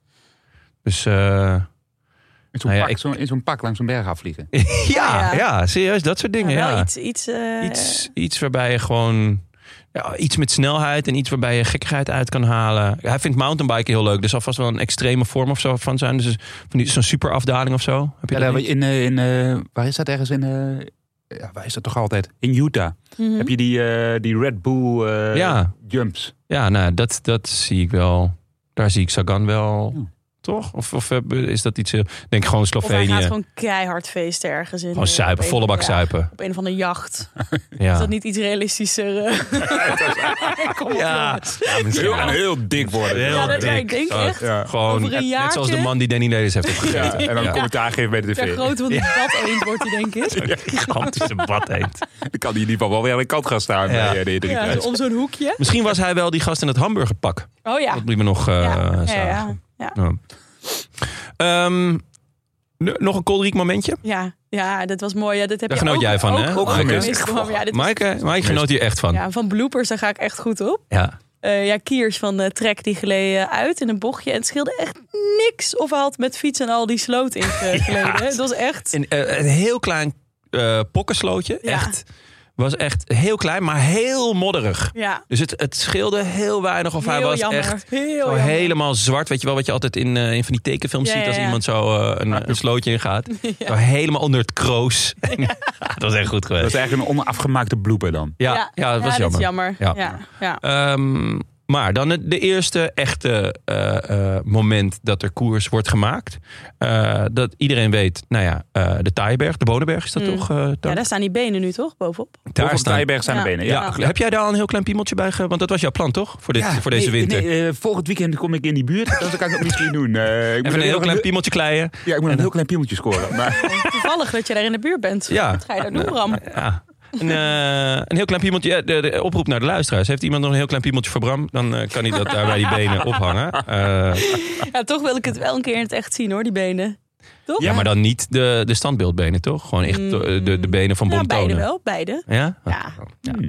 A: Dus eh,
D: In zo'n
A: Nou ja,
D: pak,
A: ik-
D: zo, in zo'n pak langs een berg afvliegen.
A: ja,
C: ja.
A: ja, serieus, dat soort dingen.
C: Ja, wel
A: Ja,
C: iets... iets, eh,
A: Iets, iets waarbij je gewoon ja, iets met snelheid en iets waarbij je gekkigheid uit kan halen. Hij vindt mountainbiken heel leuk. Er zal vast wel een extreme vorm of zo van zijn. Dus van die, zo'n super afdaling of zo. Heb je
D: Ja,
A: dat
D: daar,
A: niet?
D: in, eh, in, eh, waar is dat ergens in... eh, ja, waar is dat toch altijd? In Utah.
C: mhm.
D: Heb je die, eh, die Red Bull eh,
A: Ja.
D: jumps?
A: ja, nou, dat, dat zie ik wel. Daar zie ik Sagan wel.
D: Ja.
A: Toch? Of, of eh, is dat iets... heel- Ik denk gewoon
C: Of hij gaat
A: Slovenië. Gewoon,
C: gewoon keihard feesten ergens in. eh,
A: Oh, zuipen,
C: op een-
A: volle bak
C: ja,
A: zuipen. Ah.
C: Op een of andere jacht. Is
A: Ja.
C: dat niet iets realistischer? eh? Kom op,
A: Ja.
C: jongens.
A: Ja, misschien wel.
D: heel dik worden.
A: Heel
C: Ja, dat,
A: dik.
C: ik denk echt.
A: Gewoon
C: Over een
A: net, net zoals de
C: jaartje.
A: man die Danny Lewis heeft opgegeten.
D: En dan
A: Ja.
D: commentaar geven bij de
C: Ter
D: tv.
C: grootte van de bad eend wordt hij, denk ik.
A: Gigantische bad eend.
D: Dan kan die in ieder geval wel weer aan de kant gaan staan
A: Ja.
D: bij eh, de E3
C: Ja,
D: prijs.
C: om zo'n hoekje.
A: Misschien was hij wel die gast in het hamburgerpak.
C: Oh ja.
A: Dat liepen nog eh
C: ja. ja,
A: zagen.
C: ja, ja.
A: Ja. Ehm, n- nog een kolderiek momentje?
C: Ja, ja, dat was mooi. Ja, dat heb
A: Daar
C: je
A: genoot
C: ook-
A: jij van,
C: ook-
A: hè?
C: ook
A: Maaike?
C: gemist, gewoon. Ja, dit was-
A: Maaike, Maaike genoot hier echt van. Ja.
C: ja, van bloopers, daar ga ik echt goed op. Eh, ja, Kiers van eh Trek, die gleed eh, uit in een bochtje. En het scheelde echt niks of hij had met fiets en al die sloot ingegleden.
A: Ja.
C: Het was echt...
A: Een, eh, een heel klein eh, pokkenslootje.
C: Ja.
A: Echt. was echt heel klein, maar heel modderig.
C: Ja.
A: Dus het, het scheelde heel weinig of hij
C: Heel
A: was
C: jammer.
A: echt
C: Heel
A: zo
C: jammer.
A: helemaal zwart. Weet je wel wat je altijd in, eh, in van die tekenfilms
C: Ja,
A: ziet
C: ja,
A: als
C: ja.
A: iemand zo eh, een, een slootje ingaat. Zo helemaal onder het kroos. dat was echt goed
D: Dat is
A: geweest.
D: eigenlijk een onafgemaakte blooper dan.
A: Ja, ja, dat was
C: dat
A: jammer.
C: is jammer.
A: Ja.
C: Ja. Ja.
A: Ehm, maar dan het- de eerste echte eh, eh, moment dat er koers wordt gemaakt. Eh, dat iedereen weet, nou ja, eh, de Taaienberg, de Bodenberg is dat
C: Mm.
A: toch? eh, Toon?
C: Ja, daar staan die benen nu toch bovenop?
D: Daar
A: staan-
D: Stijberg zijn de
C: Ja.
D: benen. Ja.
A: Ja. Heb jij daar al een heel klein piemeltje bij? Ge... Want dat was jouw plan toch? Voor, dit,
D: Ja,
A: voor deze
D: nee,
A: winter.
D: nee, eh, volgend weekend kom ik in die buurt. Dat kan ik ook misschien doen. Eh, ik moet
A: Even een heel
D: nog
A: klein piemeltje kleien.
D: Ja, ik moet nog een heel klein piemeltje scoren. Maar
C: Toevallig dat je daar in de buurt bent.
A: Ja.
C: Wat ga je daar doen, Bram?
A: Ja. Een, eh, een heel klein piemeltje. Ja, de, de oproep naar de luisteraars. Heeft iemand nog een heel klein piemeltje voor Bram? Dan eh, kan hij dat daar bij die benen ophangen. Eh,
C: Ja, toch wil ik het wel een keer in het echt zien hoor, die benen. Toch?
A: ja, maar dan niet de, de standbeeldbenen, toch? Gewoon echt de, de, de benen van
C: Ja,
A: Bontonen.
C: Mm. Nou, beide wel, beide.
A: Ja?
C: Ja.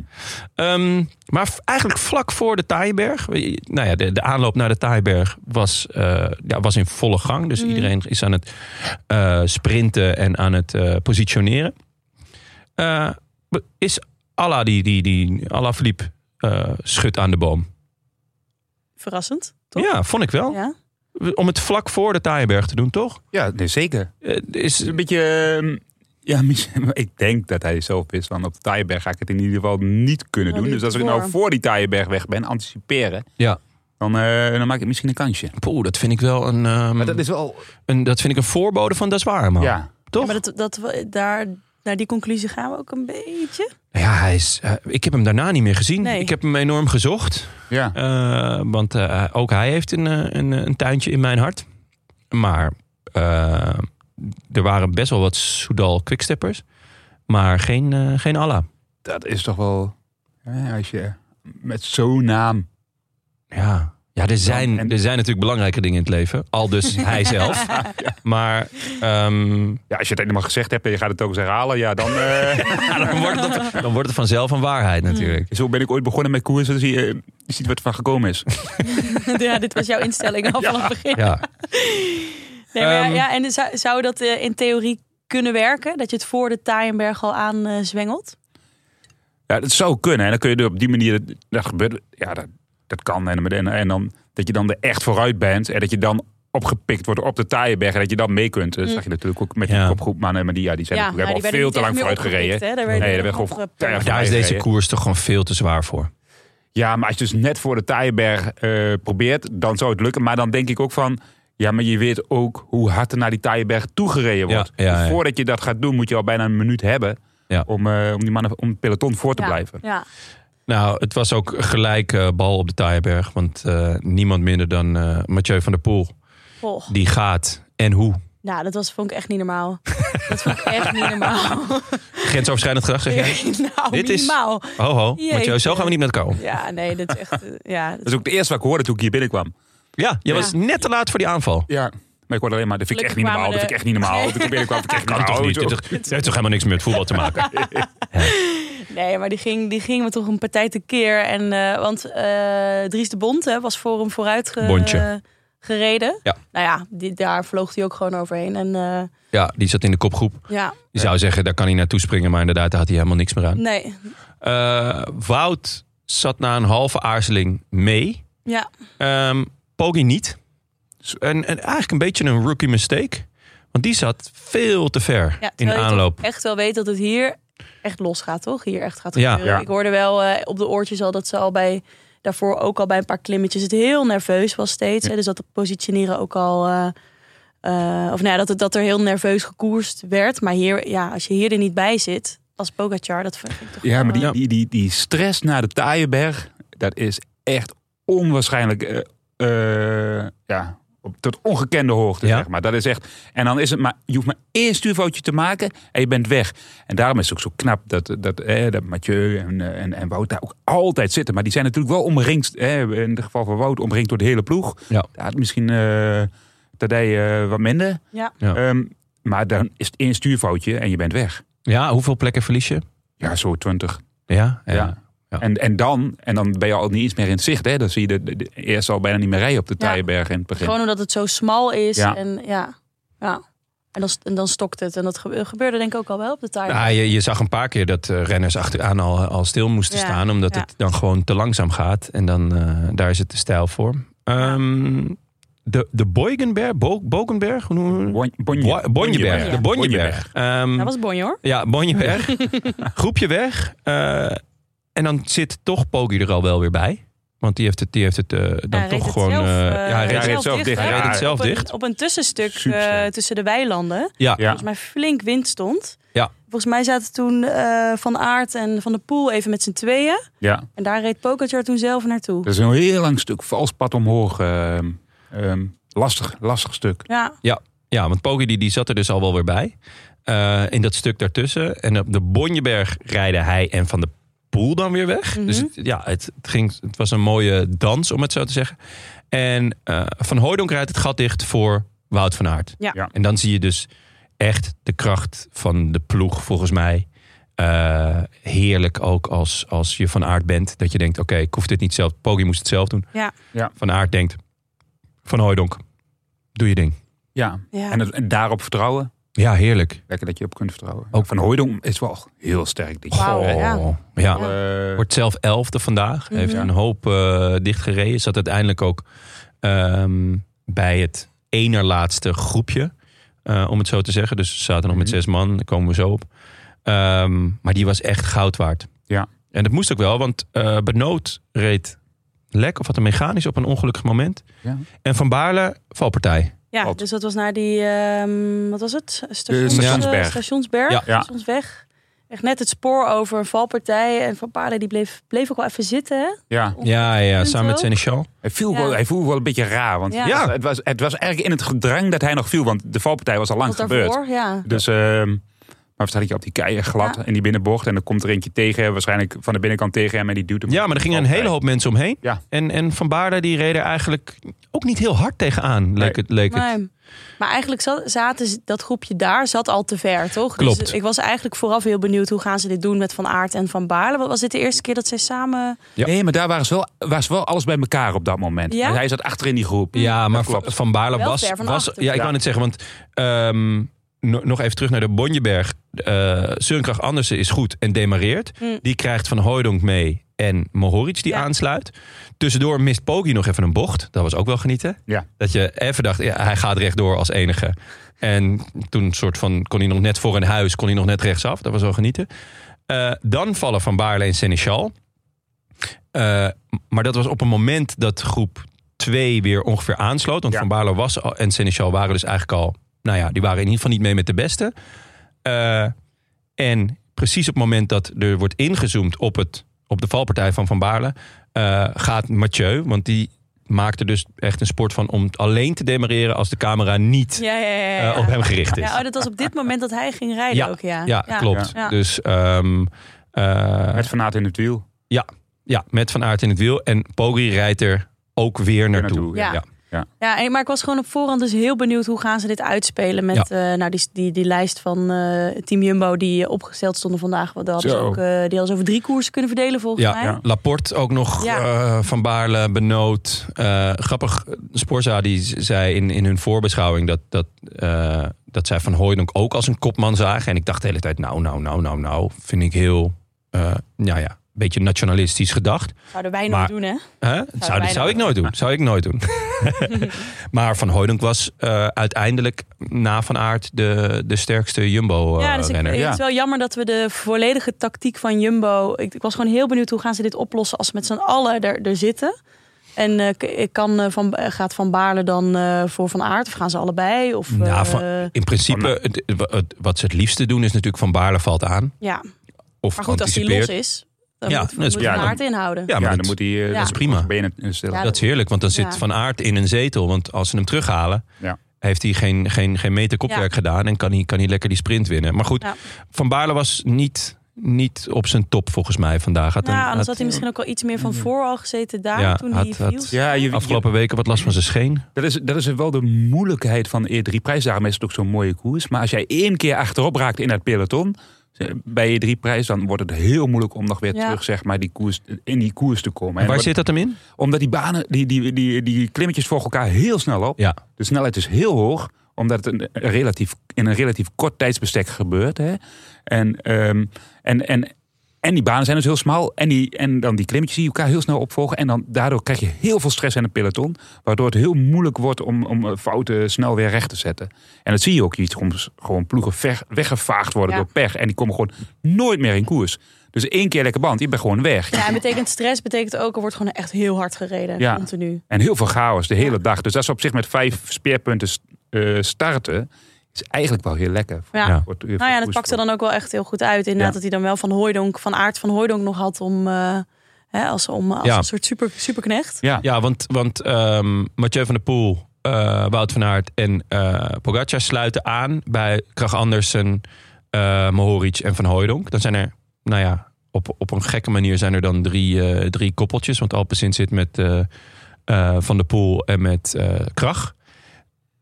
A: Ehm, maar v- eigenlijk vlak voor de Taaienberg. Nou ja, de, de aanloop naar de Taaienberg was, eh, ja, was in volle gang. Dus iedereen is aan het eh, sprinten en aan het eh, positioneren. Eh, be- is Allah die, die, die Allah verliep eh, schut aan de boom?
C: Verrassend, toch?
A: Ja, vond ik wel.
C: Ja.
A: Om het vlak voor de Taaienberg te doen, toch?
D: ja, nee, zeker.
A: Eh,
D: Het
A: is,
D: is een beetje... ehm, ja, misschien- maar ik denk dat hij zelf is. Want op de Taaienberg ga ik het in ieder geval niet kunnen
C: Ja,
D: doen.
C: die
D: Dus als ik
C: voor.
D: nou voor die Taaienberg weg ben, anticiperen.
A: ja.
D: Dan, eh, dan maak ik misschien een kansje.
A: Poeh, dat vind ik wel een, ehm,
D: Maar dat is wel...
A: een, dat vind ik een voorbode van Dat is waar, man.
D: Ja.
A: Toch?
C: Maar dat, dat, we- daar, naar die conclusie gaan we ook een beetje.
A: Ja, hij is, eh, ik heb hem daarna niet meer gezien.
C: Nee.
A: Ik heb hem enorm gezocht.
D: Ja.
A: eh, want eh, ook hij heeft een, eh, een, een tuintje in mijn hart. Maar eh, er waren best wel wat Soudal quicksteppers. Maar geen, eh, geen Allah.
D: Dat is toch wel... Ja, als je met zo'n naam...
A: Ja. Ja, er zijn,
D: en-
A: er zijn natuurlijk belangrijke dingen in het leven. Al dus hij zelf. Maar ehm,
D: Ja, als je het helemaal gezegd hebt en je gaat het ook eens herhalen. Ja, dan... eh,
A: ja, dan, wordt het, dan wordt het vanzelf een waarheid natuurlijk.
D: Zo ben ik ooit begonnen met koersen. Dus je, eh, je ziet wat er van gekomen is.
C: ja, dit was jouw instelling al vanaf het begin.
A: Ja.
C: Nee, maar ja,
A: Ehm.
C: ja, en zou, zou dat eh, in theorie kunnen werken? Dat je het voor de Taaienberg al eh, aanzwengelt?
D: Ja, dat zou kunnen. En dan kun je er op die manier... Dat gebeurt... Ja, dat, dat kan. En, en, en dan, dat je dan er echt vooruit bent. En dat je dan opgepikt wordt op de Taaienberg. En dat je dan mee kunt. Dat zag je natuurlijk ook met die
A: Ja.
D: kopgroepmannen. Maar die, ja, die zijn
C: ja,
D: natuurlijk,
C: maar
D: hebben al veel te lang vooruit gereden.
C: Daar
D: Nee,
C: werden
D: daar
C: er
D: werd
C: nog
D: gewoon
C: op, eh,
D: keihard
A: Daar is deze
D: gereden.
A: koers toch gewoon veel te zwaar voor.
D: Ja, maar als je dus net voor de Taaienberg eh, probeert... dan zou het lukken. Maar dan denk ik ook van... Ja, maar je weet ook hoe hard er naar die Taaienberg toegereden
A: Ja,
D: wordt.
A: ja, ja.
D: Dus voordat je dat gaat doen, moet je al bijna een minuut hebben...
A: Ja.
D: Om, eh, om die mannen om het peloton voor te
C: ja,
D: blijven.
C: Ja,
A: Nou, het was ook gelijk eh, bal op de Taaienberg. Want eh, niemand minder dan eh, Mathieu van der Poel.
C: Och,
A: Die gaat en hoe.
C: nou, dat was, vond ik echt niet normaal. dat vond ik echt niet normaal.
A: Grensoverschrijdend gedrag zeg jij?
C: nou,
A: Dit is-
C: minimaal.
A: Ho ho,
C: Jeetje.
A: Mathieu, zo gaan we niet met elkaar om.
C: Ja, nee, dat is echt... eh, ja, dat-
D: Dat is ook de eerste wat ik hoorde toen ik hier binnenkwam.
A: Ja, je
C: Ja.
A: was net te laat voor die aanval. Nou,
D: Ja. Maar ik hoorde alleen maar, dat vind ik
C: Gelukkig
D: echt niet
C: kwamen
D: normaal, dat
C: de-
D: vind ik echt niet normaal. Toen ik binnenkwam, vind ik echt
A: Kan
D: niet
A: toch
D: normaal.
A: niet? Dit toch- dit heeft toch helemaal niks meer met voetbal te maken?
C: Nee, maar die ging, die ging me toch een partij tekeer. En, eh, want eh, Dries de Bond hè, was voor hem vooruit ge-
A: Bontje.
C: gereden.
A: Ja.
C: Nou ja, die, daar vloog hij ook gewoon overheen. En eh,
A: Ja, die zat in de kopgroep.
C: ja,
A: Je zou zeggen, daar kan hij naartoe springen. Maar inderdaad, daar had hij helemaal niks meer aan.
C: nee.
A: Eh, Wout zat na een halve aarzeling mee.
C: Ja,
A: Ehm Poggi niet. En, en eigenlijk een beetje een rookie mistake. Want die zat veel te ver
C: ja
A: in de
C: terwijl je toch
A: aanloop.
C: echt wel weet dat het hier echt los gaat, toch? Hier echt gaat
A: Ja.
C: gebeuren.
D: Ja.
C: Ik hoorde wel eh, op de oortjes al dat ze al bij... Daarvoor ook al bij een paar klimmetjes het heel nerveus was steeds. Hè? Dus dat het positioneren ook al... eh, eh, of nou ja, dat, het, dat er heel nerveus gekoerst werd. Maar hier, ja, als je hier er niet bij zit... Als Pogacar, dat vind ik toch
D: Ja, maar
A: Ja.
D: die, die, die, die stress naar de Taaienberg, dat is echt onwaarschijnlijk. eh, eh, ja, op, tot ongekende hoogte,
A: Ja.
D: zeg maar. Dat is echt. En dan is het maar, je hoeft maar één stuurfoutje te maken en je bent weg. En daarom is het ook zo knap dat, dat, eh, dat Mathieu en, eh, en, en Wout daar ook altijd zitten. Maar die zijn natuurlijk wel omringd, eh, in het geval van Wout, omringd door de hele ploeg.
A: Ja.
D: Daar had misschien eh Tadej eh, wat minder.
C: Ja.
A: Ja.
D: Ehm, maar dan is het één stuurfoutje en je bent weg.
A: Ja, hoeveel plekken verlies je?
D: Ja, zo twintig.
A: Ja, eh, ja.
D: Ja. En, en, dan, en dan ben je al niet eens meer in het zicht. Hè? Dan zie je de, de- de- eerst al bijna niet meer rijden op de
C: Ja.
D: Taaienberg in het begin.
C: Gewoon omdat het zo smal is.
D: Ja.
C: En ja. ja. En dan, st- en dan stokt het. En dat gebe- gebeurde denk ik ook al wel op de tijd.
A: Nou, je, je zag een paar keer dat eh, renners achteraan al, al stil moesten
C: Ja,
A: staan. Omdat
C: ja.
A: het dan gewoon te langzaam gaat. En dan, eh, daar is het te stijl voor. Ehm, de, de Boigenberg? Bo, Bogenberg? Hoe noemen we
D: Bon- Bonje-
A: Bo- Bonjeberg.
D: Bonjeberg.
A: De Bonjeberg.
D: Bonjeberg.
A: Ehm,
C: dat was Bonje hoor.
A: Ja, Bonje weg. Groepje weg. eh, en dan zit toch Poggi er al wel weer bij. Want die heeft het, die heeft het eh, dan
C: Hij reed
A: toch
C: het
A: gewoon...
C: zelf,
A: eh,
C: eh,
A: ja, hij reed
D: het zelf dicht.
A: Hij
C: hè?
A: reed het zelf
C: op een,
A: dicht.
C: Op een tussenstuk eh,
D: Supersterk.
C: tussen de weilanden.
A: Ja, ja.
D: Ja.
C: Volgens mij flink wind stond.
A: Ja.
C: Volgens mij zaten toen eh, Van Aert en Van der Poel even met z'n tweeën.
D: Ja,
C: En daar reed Pogacar toen zelf naartoe.
D: dat is een heel lang stuk vals pad omhoog. ehm, ehm, lastig, lastig stuk.
C: Ja,
A: want Poggi die, die zat er dus al wel weer bij. Eh, in dat stuk daartussen. En op de Bonjeberg rijden hij en Van de Poel dan weer weg.
C: Mhm.
A: Dus het, ja, het, het ging, het was een mooie dans, om het zo te zeggen. En eh, Van Hooydonk rijdt het gat dicht voor Wout van Aert.
C: Ja.
D: Ja.
A: En dan zie je dus echt de kracht van de ploeg, volgens mij. Eh, heerlijk ook als, als je van aard bent. Dat je denkt, oké, ik hoef dit niet zelf. Poggi moest het zelf doen.
C: Ja.
D: Ja.
A: Van aard denkt, Van Hooydonk, doe je ding.
D: Ja.
C: ja.
D: En, het- en daarop vertrouwen.
A: Ja, heerlijk.
D: Lekker dat je op kunt vertrouwen.
A: Ook-
D: Ook Van Hooijdonk is wel heel sterk. Die
C: Wauw,
D: Eh,
C: ja.
A: Oh, ja.
D: eh,
A: Wordt zelf elfde vandaag. Heeft
D: Mhm.
A: een hoop eh dichtgereden. Zat uiteindelijk ook ehm, bij het enerlaatste groepje. eh, om het zo te zeggen. Dus ze zaten nog met
D: Mhm.
A: zes man. Daar komen we zo op. Ehm, maar die was echt goud waard.
D: Ja.
A: En dat moest ook wel. Want eh Benoot reed lek. Of had een mechanisch op een ongelukkig moment.
D: Ja.
A: En Van Baarle valpartij.
C: ja,
D: Wat?
C: dus dat was naar die, ehm, wat was het? Stations-
D: Stationsberg.
C: eh, Stationsberg,
A: Ja.
D: Ja.
C: Stationsweg. Echt net het spoor over een valpartij. En Van Paarden die bleef, bleef ook wel even zitten. Hè?
D: ja.
A: Ja, ja,
C: Punt
A: samen met
C: ook.
A: Seneschal.
D: Hij, viel
C: Ja.
D: wel, hij voelde wel een beetje raar. Want
C: Ja.
D: het, was- het was, het was eigenlijk in het gedrang dat hij nog viel. Want de valpartij was al lang
C: Wat
D: gebeurd.
C: daarvoor, ja.
D: Dus, ehm, maar staat je op die keien glad
C: Ja.
D: in die binnenbocht. En dan komt er eentje tegen. Waarschijnlijk van de binnenkant tegen hem. En die duwt hem.
A: Ja, maar er gingen een
D: valpartij.
A: hele hoop mensen omheen.
D: Ja.
A: En, en Van Baarle die reed er eigenlijk ook niet heel hard tegenaan. Leek
D: Nee.
A: het, leek het.
C: Nee. Maar eigenlijk zat- zaten ze- dat groepje daar zat al te ver, toch?
A: Klopt.
C: Dus ik was eigenlijk vooraf heel benieuwd hoe gaan ze dit doen met Van Aert en Van Baarle. Wat was dit de eerste keer dat zij samen...
A: Ja.
D: Nee, maar daar waren ze, wel, was wel alles bij elkaar op dat moment.
C: Ja?
D: Want hij zat achter in die groep.
A: Ja, maar
D: Dat Hm. klopt.
A: Van- Van Baarle
C: Wel
A: was...
C: ver van
A: was
C: achter.
A: ja, ik
D: Ja.
A: wou net zeggen, want ehm, no- nog even terug naar de Bonjeberg. eh Sunkrach Andersen is goed en demareert.
C: Hm.
A: Die krijgt Van Hooydonk mee en Mohoric die
C: Ja.
A: aansluit. Tussendoor mist Poggi nog even een bocht. Dat was ook wel genieten.
D: Ja.
A: Dat je even dacht, ja, hij gaat rechtdoor als enige. En toen soort van, kon hij nog net voor een huis, kon hij nog net rechtsaf. Dat was wel genieten. Eh, dan vallen Van Baarle en Seneschal. Eh, maar dat was op een moment dat groep 2 weer ongeveer aansloot. Want
D: Ja.
A: Van Baarle was al, en Seneschal waren dus eigenlijk al... Nou ja, die waren in ieder geval niet mee met de beste. Eh, en precies op het moment dat er wordt ingezoomd op, het, op de valpartij van Van Baarle... eh, gaat Mathieu, want die maakte dus echt een sport van... om alleen te demareren als de camera niet
C: Ja, ja, ja.
A: eh, op hem gericht is.
C: Ja, oh, dat was op dit moment dat hij ging rijden ook, ja.
A: Ja, klopt.
C: Ja.
A: Dus ehm, eh,
D: Met Van Aert in het wiel.
A: ja, met Van Aert in het wiel. En Poggi rijdt er ook weer naartoe.
D: naartoe,
C: ja.
A: Ja.
C: Ja, en- maar ik was gewoon op voorhand dus heel benieuwd hoe gaan ze dit uitspelen met eh, nou, die, die, die lijst van eh, Team Jumbo die opgesteld stonden vandaag. Want daar hadden ze
D: Zo.
C: ook, eh, die hadden ze over drie koersen kunnen verdelen volgens
A: Ja,
C: mij.
D: ja.
A: Laporte ook nog,
C: Ja.
A: eh, Van Baarle, Benoot. Eh, grappig, Sporza die z- zei in, in hun voorbeschouwing... dat, dat, eh, dat zij Van Hooydonk ook als een kopman zagen. En ik dacht de hele tijd, nou, nou, nou, nou, nou. Vind ik heel, eh nou ja, een beetje nationalistisch gedacht.
C: Zouden wij nog
A: Maar-
C: doen, hè?
A: Hè? Zou,
C: wij
A: dat
C: nog
A: zou ik
C: doen.
A: nooit doen. Zou ik nooit doen. maar Van Hooydonk was eh, uiteindelijk na Van Aert de, de sterkste
C: Ja, dus ik,
A: Jumbo-renner.
C: het
D: ja.
C: is wel jammer dat we de volledige tactiek van Jumbo. Ik, ik was gewoon heel benieuwd hoe gaan ze dit oplossen als ze met z'n allen er, er zitten. En eh, k- ik kan, eh, van, eh, gaat Van Baarle dan eh, voor Van Aert of gaan ze allebei? Of,
A: Nou,
C: eh,
A: Van- in principe, het- het- wat ze het liefste doen is natuurlijk Van Baarle valt aan.
C: ja,
A: Of
C: maar goed, als die
A: anticipeert.
C: los is, dan
A: Ja,
C: moet,
A: dat is
C: moet
A: prima.
C: Van Aart inhouden.
A: Ja,
D: Ja,
A: maar
D: dan
A: dat,
D: moet hij eh,
C: dat is
D: de
A: prima.
D: benen eh, stil.
C: Ja,
A: dat is heerlijk, want dan zit
C: Ja.
A: Van Aert in een zetel. Want als ze hem terughalen,
D: Ja.
A: heeft hij geen, geen, geen meter kopwerk
C: Ja.
A: gedaan. En kan hij, kan hij lekker die sprint winnen. Maar goed,
C: Ja.
A: Van Baarle was niet, niet op zijn top volgens mij vandaag. Had
C: Nou,
A: een-
C: anders
A: had- Mm.
C: had hij misschien ook wel iets meer van voor al gezeten daar
A: Ja,
C: toen
A: had-
C: hij
A: had-
C: viel.
D: Ja, je, je-
A: afgelopen weken wat last van zijn scheen.
D: dat, is, dat is wel de moeilijkheid van E E3 prijs. Daarom is het ook zo'n mooie koers. Maar als jij één keer achterop raakt in dat peloton eh, bij E3 prijs, dan wordt het heel moeilijk om nog weer
C: Ja.
D: terug zeg maar, die koers, in die koers te komen. En
A: Waar
D: wat-
A: zit dat hem in?
D: Omdat die banen, die, die, die, die klimmetjes volgen elkaar heel snel op.
A: Ja.
D: De snelheid is heel hoog. Omdat het een, een relatief, in een relatief kort tijdsbestek gebeurt. Hè? En, ehm, en, en, en die banen zijn dus heel smal. En, die, en dan die klimmetjes die elkaar heel snel opvolgen. En dan, daardoor krijg je heel veel stress in het peloton. Waardoor het heel moeilijk wordt om, om eh, fouten snel weer recht te zetten. En dat zie je ook. Je ziet soms gewoon ploegen ver- weggevaagd worden
C: Ja.
D: door pech. En die komen gewoon nooit meer in koers. Dus één keer lekker band, je bent gewoon weg.
C: Ja, en betekent stress betekent ook, er wordt gewoon echt heel hard gereden.
D: Ja.
C: Continu.
D: En heel veel chaos de hele dag. Dus dat ze op zich met vijf speerpunten eh, starten, is eigenlijk wel heel lekker.
C: Ja.
A: Ja.
D: Wordt-
C: Nou ja, dat pakte dan ook wel echt heel goed uit. Inderdaad,
D: Ja.
C: dat hij dan wel van Hooidonk, van Aard van Hooidonk nog had om, eh, hè, als, om als
A: Ja.
C: een soort super, superknecht.
D: Ja,
A: Ja, want, want ehm, Mathieu van der Poel, eh, Wout van Aert en eh Pogacar sluiten aan bij Krach Andersen, eh Mohoric en Van Hooijdonk. Dan zijn er, nou ja, op, op een gekke manier zijn er dan drie, eh, drie koppeltjes. Want Alpecin zit met eh, eh, Van der Poel en met eh Krach.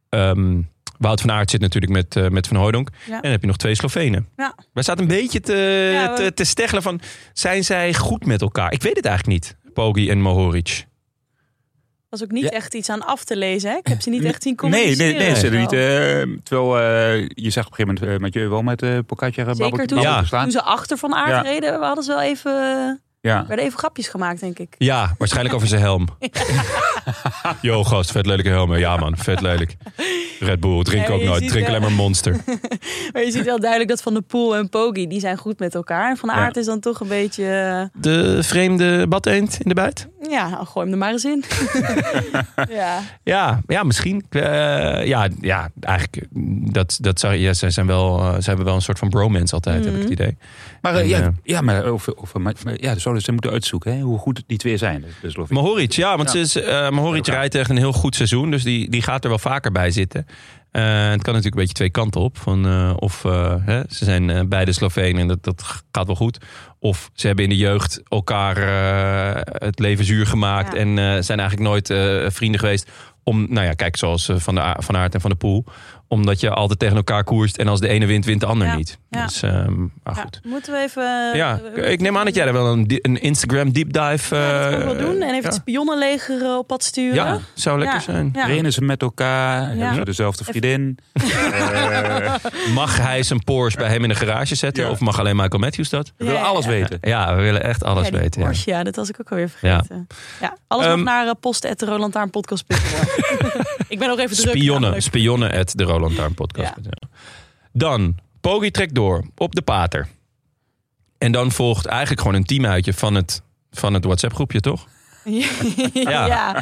A: Ehm, Wout van Aert zit natuurlijk met, eh, met Van Hooijdonk.
C: Ja.
A: En dan heb je nog twee Slovenen.
C: Ja.
A: Wij zaten een beetje te,
C: Ja, we-
A: te, te steggelen van, zijn zij goed met elkaar? Ik weet het eigenlijk niet, Pogi en Mohoric.
C: was ook niet
D: Ja.
C: echt iets aan af te lezen. hè? Ik heb ze niet echt zien
D: Nee,
C: communiceren.
D: nee, nee, ze
C: of
D: er
C: zo.
D: niet. eh, terwijl eh, je zag op een gegeven moment eh, Mathieu wel met eh Pocatja eh, babbel-
C: Zeker toen,
D: babbel
A: Ja.
D: te slaan.
C: toen ze achter van Aard
D: Ja.
C: reden, we hadden ze wel even,
D: Ja.
C: werden even grapjes gemaakt, denk ik.
A: Ja, waarschijnlijk over zijn helm. Yo, gast, vet lelijke helm. Ja, man, vet lelijk. Red Bull, drink
C: Ja,
A: ook
C: je
A: nooit.
C: ziet
A: Drink
C: wel-
A: alleen maar monster.
C: Maar je ziet wel duidelijk dat Van de Poel en Poggi, die zijn goed met elkaar. En Van Aert is dan toch een beetje, eh,
A: De vreemde badeend in de buit?
C: ja, nou, gooi hem er maar eens in. ja.
A: Ja, ja misschien. Eh, ja, ja, eigenlijk, eh, dat, dat zou, ja, zij zijn wel, eh, ze hebben wel een soort van bromance altijd, heb ik
C: Mhm.
A: het idee.
D: Maar, eh,
A: En, eh,
D: ja, ja, maar, over, over, maar, maar ja, dus ze moeten uitzoeken hè, hoe goed die twee zijn. Dus, dus Lovie.
A: Mohoric, ja, want Ze is, eh, Mohoric rijdt echt een heel goed seizoen. Dus die, die gaat er wel vaker bij zitten. Eh, het kan natuurlijk een beetje twee kanten op. Van, eh, of eh, hè, ze zijn eh, beide Slovenen en dat, dat gaat wel goed. Of ze hebben in de jeugd elkaar eh, het leven zuur gemaakt.
C: Ja.
A: En eh, zijn eigenlijk nooit eh, vrienden geweest. Om, nou ja, kijk, zoals eh, Van, de A- van Aert en Van de Poel. Omdat je altijd tegen elkaar koerst. En als de ene wint, wint de ander
C: Ja,
A: niet.
C: ja.
A: Dus, ehm, maar
C: Ja, Eh,
A: goed.
C: Moeten we even...
A: Ja, ik neem aan dat jij er wel een, di- een Instagram deep dive...
C: Ja, dat
A: eh,
C: kan ik wel doen. En even
A: ja.
C: het spionnenleger eh, op pad sturen.
A: Ja, zou lekker
C: Ja,
A: zijn.
C: ja.
D: Trainen ze met elkaar? Hebben ze dezelfde vriendin?
A: Mag hij zijn Porsche bij hem in de garage zetten?
D: Ja.
A: Of mag alleen Michael Matthews dat?
D: We willen alles weten.
A: Ja, we willen echt alles
C: Ja, die
A: weten. Ja.
C: Porsche, ja. dat was ik ook alweer vergeten. Ja, alles
A: Ehm,
C: nog naar uh, ik ben nog even druk.
A: Spionnen.
C: namelijk.
A: Spionnen at de Roland Tarn podcast. Ja. Dan, Poggi trekt door op de pater. En dan volgt eigenlijk gewoon een teamuitje van het, van het WhatsApp groepje, toch?
C: ja. ja.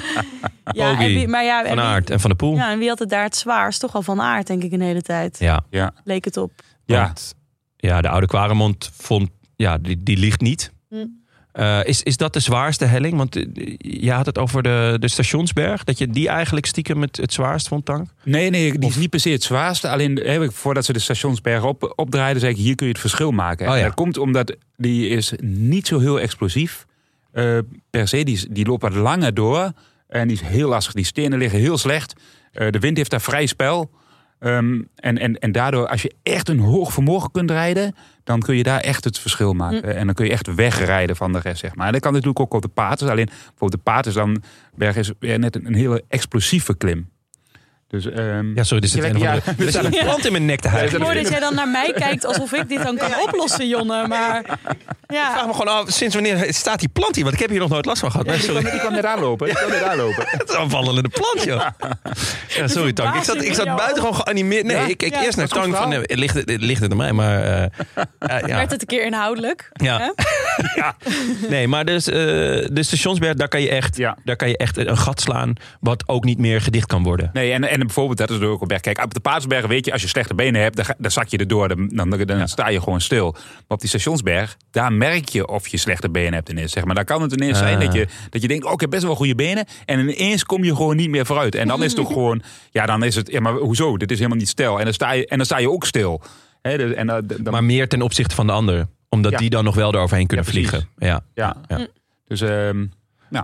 C: en
A: Poggi,
C: wie- maar ja, en
A: Van
C: wie-
A: Aert en Van de Poel. Ja.
C: Ja, en wie had het daar het zwaarst? Toch al van aard, denk ik, een hele tijd.
A: Ja,
D: Ja.
C: Leek het op.
D: Ja.
A: want, ja de oude Quaremond vond... Ja, die, die ligt niet.
C: Hm.
A: Eh, is, is dat de zwaarste helling? Want eh, jij had het over de, de stationsberg. Dat je die eigenlijk stiekem het, het zwaarst vond, Tank?
D: Nee, nee, die is niet per se het zwaarste. Alleen hè, voordat ze de stationsbergen op, opdraaiden, zei ik: hier kun je het verschil maken.
A: Oh ja.
D: Dat komt omdat die is niet zo heel explosief eh per se. Die, is- die loopt wat langer door en die is heel lastig. Die stenen liggen heel slecht. Eh, de wind heeft daar vrij spel. Ehm, en, en, en daardoor, als je echt een hoog vermogen kunt rijden, dan kun je daar echt het verschil maken. En dan kun je echt wegrijden van de rest, zeg maar. En dat kan natuurlijk ook op de paters. Alleen bijvoorbeeld de paters dan berg is weer net een, een hele explosieve klim. Dus, ehm,
A: Ja, sorry, er zit,
D: Ja,
A: een, of
D: ja.
A: andere- er zit een plant in mijn nek te
C: Ik hoor
A: huilen.
C: dat jij dan naar mij kijkt alsof ik dit dan kan oplossen, Jonne. Maar
A: Ik vraag
C: ja,
A: me gewoon af, sinds wanneer staat die plant hier? Want ik heb hier nog nooit last van gehad. Maar
D: die,
A: sorry,
D: kwam, die kwam net aanlopen. Die kwam net aanlopen.
A: het is een wandelende plant, joh. Ja, sorry, Tank. Ik zat, ik zat
C: Ja.
A: buitengewoon geanimeerd. Nee, ik, ik
C: Ja.
A: eerst naar
D: Dat is
A: Tank
D: goed
A: van,
D: verhaal.
A: eh, ligt, het- ligt het aan mij? Maar eh, eh, ja.
C: werd het een keer inhoudelijk. hè?
A: Ja. Nee, maar dus, eh, de stationsberg, daar kan, je echt,
D: Ja.
A: daar kan je echt een gat slaan... wat ook niet meer gedicht kan worden.
D: Nee, en, en bijvoorbeeld, dat is ook een berg. Kijk, op de Paasberg weet je, als je slechte benen hebt, dan, ga- dan zak je erdoor. Dan, dan, dan sta je gewoon stil. Maar op die stationsberg, daar merk je of je slechte benen hebt ineens. Zeg maar. Daar kan het ineens zijn
A: Ah.
D: dat je, dat je denkt, oh, ik heb best wel goede benen. En ineens kom je gewoon niet meer vooruit. En dan is het toch gewoon, ja, dan is het, ja, maar hoezo? Dit is helemaal niet stil. En dan sta je, en dan sta je ook stil. Hè, dus- en, dan- dan,
A: Maar meer ten opzichte van de ander. Omdat
D: Ja.
A: die dan nog wel eroverheen kunnen
D: Ja, precies.
A: vliegen. Ja.
D: ja.
A: Ja.
D: Dus, ehm,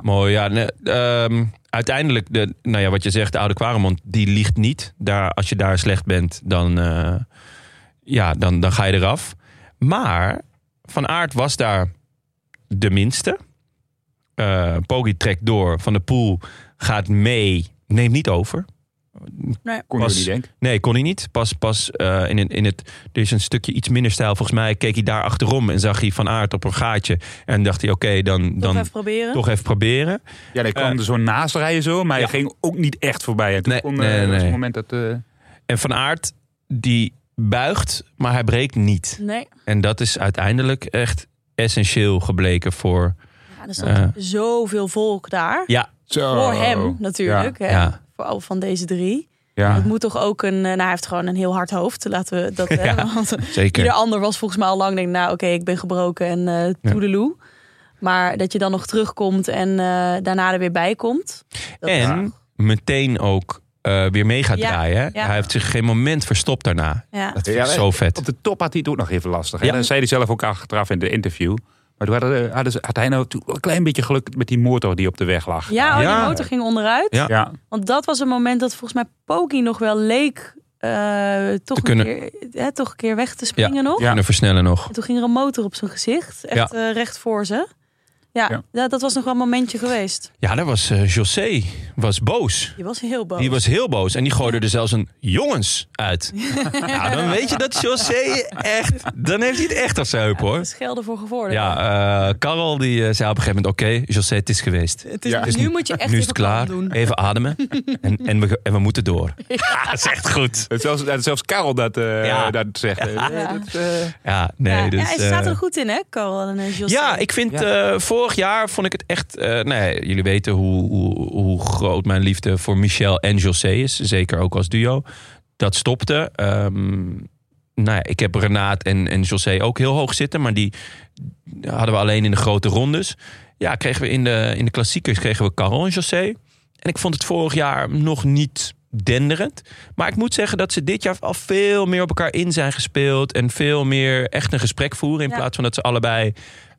A: Mooi, ja. nee, ehm, uiteindelijk, de, nou ja, wat je zegt, de oude Quaremont, die liegt niet. Daar, als je daar slecht bent, dan, eh, ja, dan, dan ga je eraf. Maar Van Aert was daar de minste. Eh Poggi trekt door. Van de Poel gaat mee. Neemt niet over.
C: Nee.
D: Kon je
A: Pas-
D: niet denken.
A: Nee, kon hij niet. Pas, pas eh, in, het- in het. Er is een stukje iets minder stijl. Volgens mij keek hij daar achterom en zag hij van aard op een gaatje. En dacht hij, oké, dan,
C: Toch
A: dan
C: even proberen.
A: toch even proberen.
D: Ja, hij kwam
A: Eh,
D: er zo naast rijden zo, maar
A: ja.
D: hij ging ook niet echt voorbij. En toen
A: Nee,
D: kon,
A: nee,
D: eh, dat was
A: nee.
D: het moment dat... eh,
A: En van aard, die buigt, maar hij breekt niet.
C: Nee.
A: En dat is uiteindelijk echt essentieel gebleken voor.
C: Ja, er stond
A: Ja.
C: zoveel volk daar.
A: Oh, Ja,
D: zo.
C: Voor hem natuurlijk. Hè?
A: ja.
C: Voor al van deze drie.
D: Ja,
C: Het
D: ja.
C: moet toch ook een. eh, Nou, hij heeft gewoon een heel hard hoofd. Laten we dat.
A: Ja,
C: hè, want
A: zeker.
C: ieder ander was volgens mij al lang. Denk, nou, oké, ik ben gebroken en eh
A: Ja.
C: toedeloe. Maar dat je dan nog terugkomt en eh, daarna er weer bij komt. dat-
A: En meteen ook eh, weer mee gaat
C: Ja,
A: draaien. hè?
C: ja.
A: Hij heeft zich geen moment verstopt daarna.
C: Ja.
A: Dat vind ik
D: Ja,
A: zo vet.
D: Op de top had hij het ook nog even lastig. hè.
A: Ja.
D: En dat zei hij zelf ook achteraf in de interview. Maar toen hadden- hadden ze- had hij nou toen wel een klein beetje geluk met die motor die op de weg lag.
C: Ja, oh,
A: Ja.
C: die motor ging onderuit.
A: Ja.
D: Ja.
C: Want dat was een moment dat volgens mij Poki nog wel leek. eh, toch, een
A: kunnen-
C: keer, hè, toch een keer weg te springen nog.
A: Ja. Kunnen versnellen nog.
C: En toen ging er een motor op zijn gezicht. Echt eh, recht voor ze. Ja,
D: Ja.
C: Dat, dat was nog wel een momentje geweest.
A: Ja, daar was eh, José was boos.
C: Die was heel boos.
A: Die was heel boos en die gooide er zelfs een jongens uit. nou, dan weet je dat José echt... Dan heeft hij het echt op zijn heup, hoor.
C: Schelden voor geworden.
A: Ja, eh Karel die eh, zei op een gegeven moment... Oké, José, het is geweest.
C: Het is,
D: Ja.
C: Nu moet je echt
A: nu
C: even
A: is het klaar.
C: kalm doen.
A: Even ademen. En, en, we, en we moeten door. Ja, dat is echt goed.
D: Dat Zelfs, dat zelfs Karel dat, eh,
A: Ja.
D: dat zegt.
C: Ja.
A: Ja, nee,
C: ja,
A: dus...
C: ja, hij staat
A: eh,
C: er goed in, hè, Carl en eh, Jos.
A: Ja, ik vind eh, vorig jaar vond ik het echt. eh nee, jullie weten hoe, hoe, hoe groot mijn liefde voor Michel en José is. Zeker ook als duo. Dat stopte. Ehm, nou ja, ik heb Renaat en, en José ook heel hoog zitten. Maar die hadden we alleen in de grote rondes. Ja, kregen we in de, in de klassiekers kregen we Caron en José. En ik vond het vorig jaar nog niet denderend. Maar ik moet zeggen dat ze dit jaar al veel meer op elkaar in zijn gespeeld. En veel meer echt een gesprek voeren. In
C: Ja.
A: plaats van dat ze allebei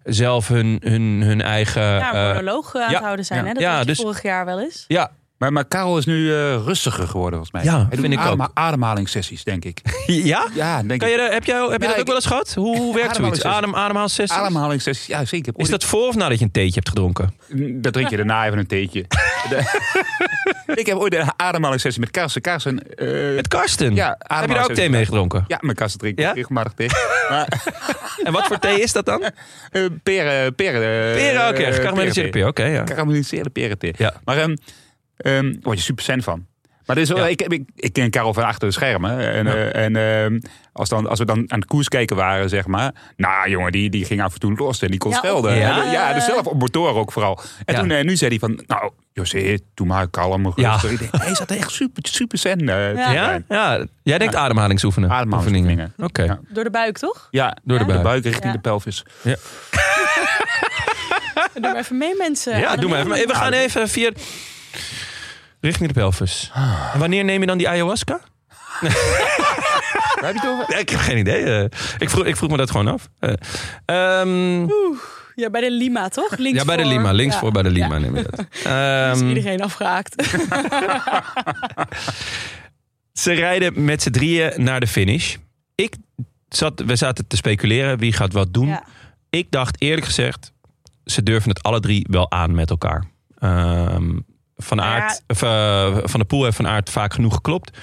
A: zelf hun, hun, hun eigen.
C: Ja, een
A: eh,
C: monoloog eh, aan
A: ja,
C: het houden zijn,
A: ja.
C: hè. Dat
A: Ja,
C: had je
A: dus-
C: vorig jaar wel eens.
A: ja,
D: Maar, maar Karel is nu eh, rustiger geworden volgens mij.
A: Ja,
D: hij doet
A: vind ik
D: adema-
A: ook.
D: ademhalingssessies, denk ik.
A: ja?
D: Ja, denk
A: Kan je,
D: ik.
A: daar- heb jij, heb je
D: Ja,
A: dat ook
D: ik-
A: wel eens gehad? Hoe, hoe werkt zoiets?
D: Ademhalingssessies.
A: Adem, ademhalingssessies?
D: Ademhalingssessies, ja zeker.
A: Is dat voor of nadat je een theetje hebt gedronken?
D: Dat drink je daarna even een theetje. ik heb ooit een ademhalingssessie met Karsten. Karsten, eh,
A: Met Karsten?
D: Ja,
A: heb je daar ook
D: ademhalingssessies.
A: thee mee gedronken?
D: ja, mijn Karsten drinkt
A: Ja?
D: regelmatig thee. maar
A: En wat voor thee is dat dan?
D: eh peren... Peren, eh,
A: Peren, oké.
D: eh,
A: Gekarameliseerde
D: perenthee.
A: peer, oké. ja.
D: Karamelliseerde perenthee.
A: Ja.
D: Maar ehm ehm word je super fan van. Maar dit is wel,
A: Ja.
D: ik, ik, ik ken Karel van achter de schermen. En, eh, en ehm, als, dan, als we dan aan de koers kijken waren, zeg maar. Nou jongen, die, die ging af en toe los en die kon
C: Ja,
D: schelden.
A: op-
D: Ja,
A: Ja.
D: ja dus zelf op motor ook vooral. En
A: Ja.
D: toen, eh, nu zei hij van, nou José, doe maar kalm. maar
A: Ja.
D: rustig. Ik denk, Hij zat er echt super, super zen eh, te
C: Ja.
A: Ja?
D: zijn.
A: ja? Jij denkt ademhalingsoefenen?
D: Ademhalingsoefeningen.
A: Oefeningen. Oké.
D: Ja.
C: Door de buik, toch?
D: Ja,
A: Door de buik.
D: richting
C: Ja.
D: de pelvis.
C: Doe maar even mee, mensen.
A: Ja, doe maar even. Maar We gaan even via... Richting de pelvis.
D: Ah.
A: En wanneer neem je dan die ayahuasca?
D: Waar heb je het over?
A: Nee, ik heb geen idee. eh. ik, vroeg, ik vroeg me dat gewoon af. Eh, ehm,
C: Ja, bij de Lima, toch? Links
A: ja, bij de
C: voor.
A: Lima. Links
C: Ja.
A: voor bij de Lima
C: Ja.
A: neem je dat.
C: Is
A: Ehm,
C: iedereen afgehaakt.
A: Ze rijden met z'n drieën naar de finish. Ik zat, we zaten te speculeren wie gaat wat doen.
C: Ja.
A: Ik dacht eerlijk gezegd, ze durven het alle drie wel aan met elkaar. Ehm, van,
C: Nou ja.
A: Aert, of, eh, van de Poel heeft Van Aert vaak genoeg geklopt.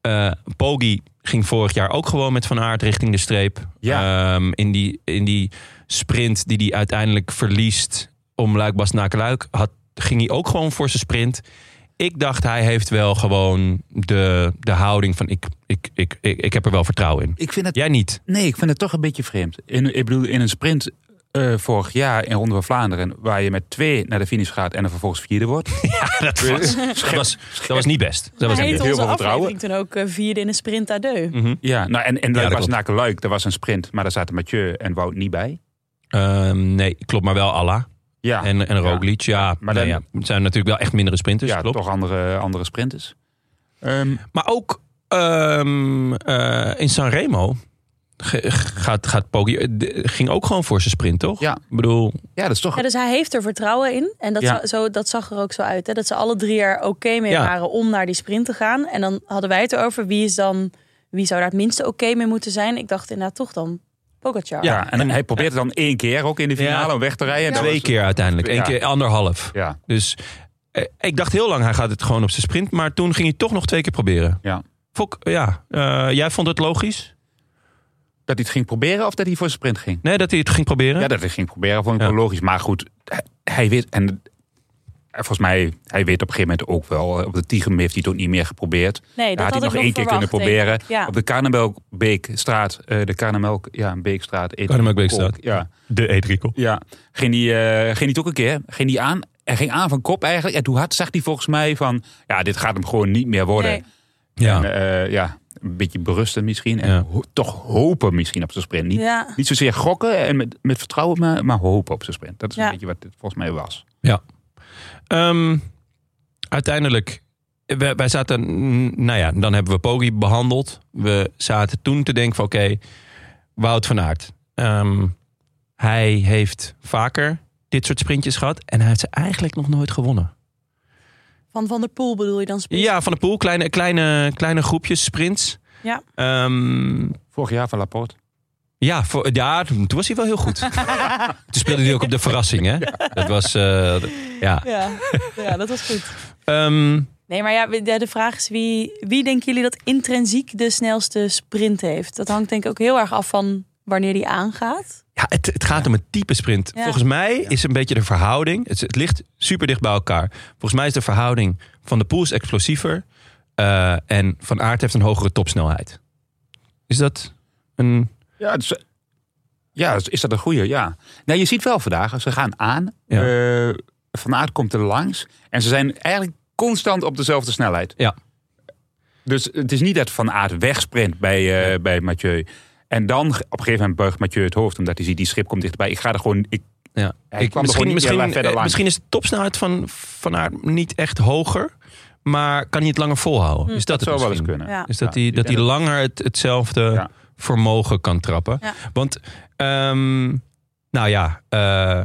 A: Eh Poggi ging vorig jaar ook gewoon met Van Aert richting de streep.
D: Ja.
A: Ehm, in, die, in die sprint die hij uiteindelijk verliest om Luik-Bas Nakeluik... Had, ging hij ook gewoon voor zijn sprint. Ik dacht, hij heeft wel gewoon de, de houding van... Ik, ik, ik, ik, ik heb er wel vertrouwen in.
D: Ik vind het
A: Jij niet?
D: Nee, ik vind het toch een beetje vreemd. In, ik bedoel, in een sprint eh, vorig jaar in Ronde van Vlaanderen... waar je met twee naar de finish gaat en er vervolgens vierde wordt.
A: Dat was, dat was, dat was niet best. Dat was
C: Hij
A: niet
C: heet
A: best.
D: heel
C: onze
D: veel vertrouwen.
C: aflevering toen ook eh, vierde in een sprint à deux.
A: Mhm.
D: Ja, nou, en, en
A: Ja,
D: dat
A: dat
D: was
A: klopt.
D: naar Luik. Dat was een sprint, maar daar zaten Mathieu en Wout niet bij.
A: Ehm, nee, klopt, maar wel Allah
D: Ja,
A: en, en Roglic. Ja,
D: Maar
A: nee,
D: dan-
A: ja, het zijn natuurlijk wel echt mindere sprinters.
D: ja
A: klopt.
D: toch andere, andere sprinters. Ehm,
A: Maar ook ehm, eh, in Sanremo ge- gaat, gaat Poggi, de- ging ook gewoon voor zijn sprint, toch?
D: Ja.
A: Ik bedoel,
D: ja, dat is toch...
C: Ja, dus hij heeft er vertrouwen in. En dat,
D: Ja.
C: zo, zo- dat zag er ook zo uit. Hè? Dat ze alle drie er oké mee
A: Ja.
C: waren om naar die sprint te gaan. En dan hadden wij het erover wie, is dan, wie zou daar het minste oké mee moeten zijn. Ik dacht inderdaad toch dan Pogacar.
D: Ja, en, hij probeert het dan één keer ook in de finale
A: Ja.
D: om weg te rijden. En dat
A: twee
D: was-
A: keer uiteindelijk. Eén
D: Ja.
A: keer anderhalf.
D: Ja,
A: Dus Eh, Ik dacht heel lang, hij gaat het gewoon op zijn sprint. Maar toen ging hij toch nog twee keer proberen.
D: Ja.
A: Fok, ja. eh, jij vond het logisch?
D: Dat hij het ging proberen of dat hij voor zijn sprint ging?
A: Nee, dat hij het ging proberen?
D: Ja, dat hij het ging proberen vond ik
A: Ja.
D: wel logisch. Maar goed, hij- hij weet... En eh, volgens mij, hij weet op een gegeven moment ook wel... eh, Op de Tigem heeft hij het ook niet meer geprobeerd.
C: Nee, dat
D: Daar
C: had
D: had hij
C: ik
D: nog
C: nog
D: één keer kunnen
C: verwacht, denk
D: proberen.
C: ik. Ja.
D: Op de Karnemelkbeekstraat. eh de Karnemelk, ja, Beekstraat. Eet-
A: Karnemelkbeekstraat.
D: Ja,
A: De Edrico.
D: ja. Ging die, eh, ging die het ook een keer. Ging die aan. En ging aan van kop eigenlijk. En toen had, zag hij volgens mij van... Ja, dit gaat hem gewoon niet meer worden.
C: Nee.
A: Ja.
D: En, eh, ja, een beetje berusten misschien. En
A: Ja.
D: ho- toch hopen misschien op zijn sprint. Niet,
C: Ja.
D: niet zozeer gokken en met, met vertrouwen, maar, maar hopen op zijn sprint. Dat is
C: Ja.
D: een beetje wat dit volgens mij was.
A: Ehm, uiteindelijk, eh, wij, wij zaten, mm, nou ja, dan hebben we Poggi behandeld. We zaten toen te denken van oké, Wout van Aert. ehm, hij heeft vaker dit soort sprintjes gehad en hij heeft ze eigenlijk nog nooit gewonnen.
C: Van Van der Poel bedoel je dan? specifiek?
A: Ja, van de pool, kleine, kleine, kleine groepjes, sprints.
C: Ja.
A: Ehm,
D: Vorig jaar van Laporte.
A: ja, voor, ja, toen was hij wel heel goed. toen speelde hij ook op de verrassing, hè? Dat was, eh, d- ja.
C: Ja. ja, dat was goed.
A: Ehm,
C: Nee, maar ja, de de vraag is wie, wie denken jullie dat intrinsiek de snelste sprint heeft? Dat hangt denk ik ook heel erg af van wanneer die aangaat.
A: Ja, het, het gaat om een type sprint.
C: Ja.
A: Volgens mij is een beetje de verhouding. Het, het ligt super dicht bij elkaar. Volgens mij is de verhouding van de pools explosiever. eh, en Van Aert heeft een hogere topsnelheid. Is dat een.
D: Ja, het is- ja is, is dat een goede? Ja. Nou, je ziet wel vandaag, ze gaan aan.
A: Ja.
D: eh, van Aert komt er langs. En ze zijn eigenlijk constant op dezelfde snelheid.
A: Ja.
D: Dus het is niet dat Van Aert wegsprint bij, eh, bij Mathieu. En dan op een gegeven moment buigt Mathieu het hoofd. Omdat hij ziet, die schip komt dichterbij. Ik ga er gewoon... Ik,
A: Ja.
D: Hij kwam er gewoon niet
A: misschien,
D: heel erg verder
A: eh,
D: langs.
A: misschien is de topsnelheid van Van Aert niet echt hoger. Maar kan hij het langer volhouden? Is dat
D: dat
A: het
D: zou wel eens
A: misschien?
D: kunnen.
C: Ja.
A: Is Dus dat
D: Ja,
A: hij
D: ik
A: dat
D: denk
A: die langer het, hetzelfde
D: Ja.
A: vermogen kan trappen.
C: Ja.
A: Want, ehm, nou ja, eh,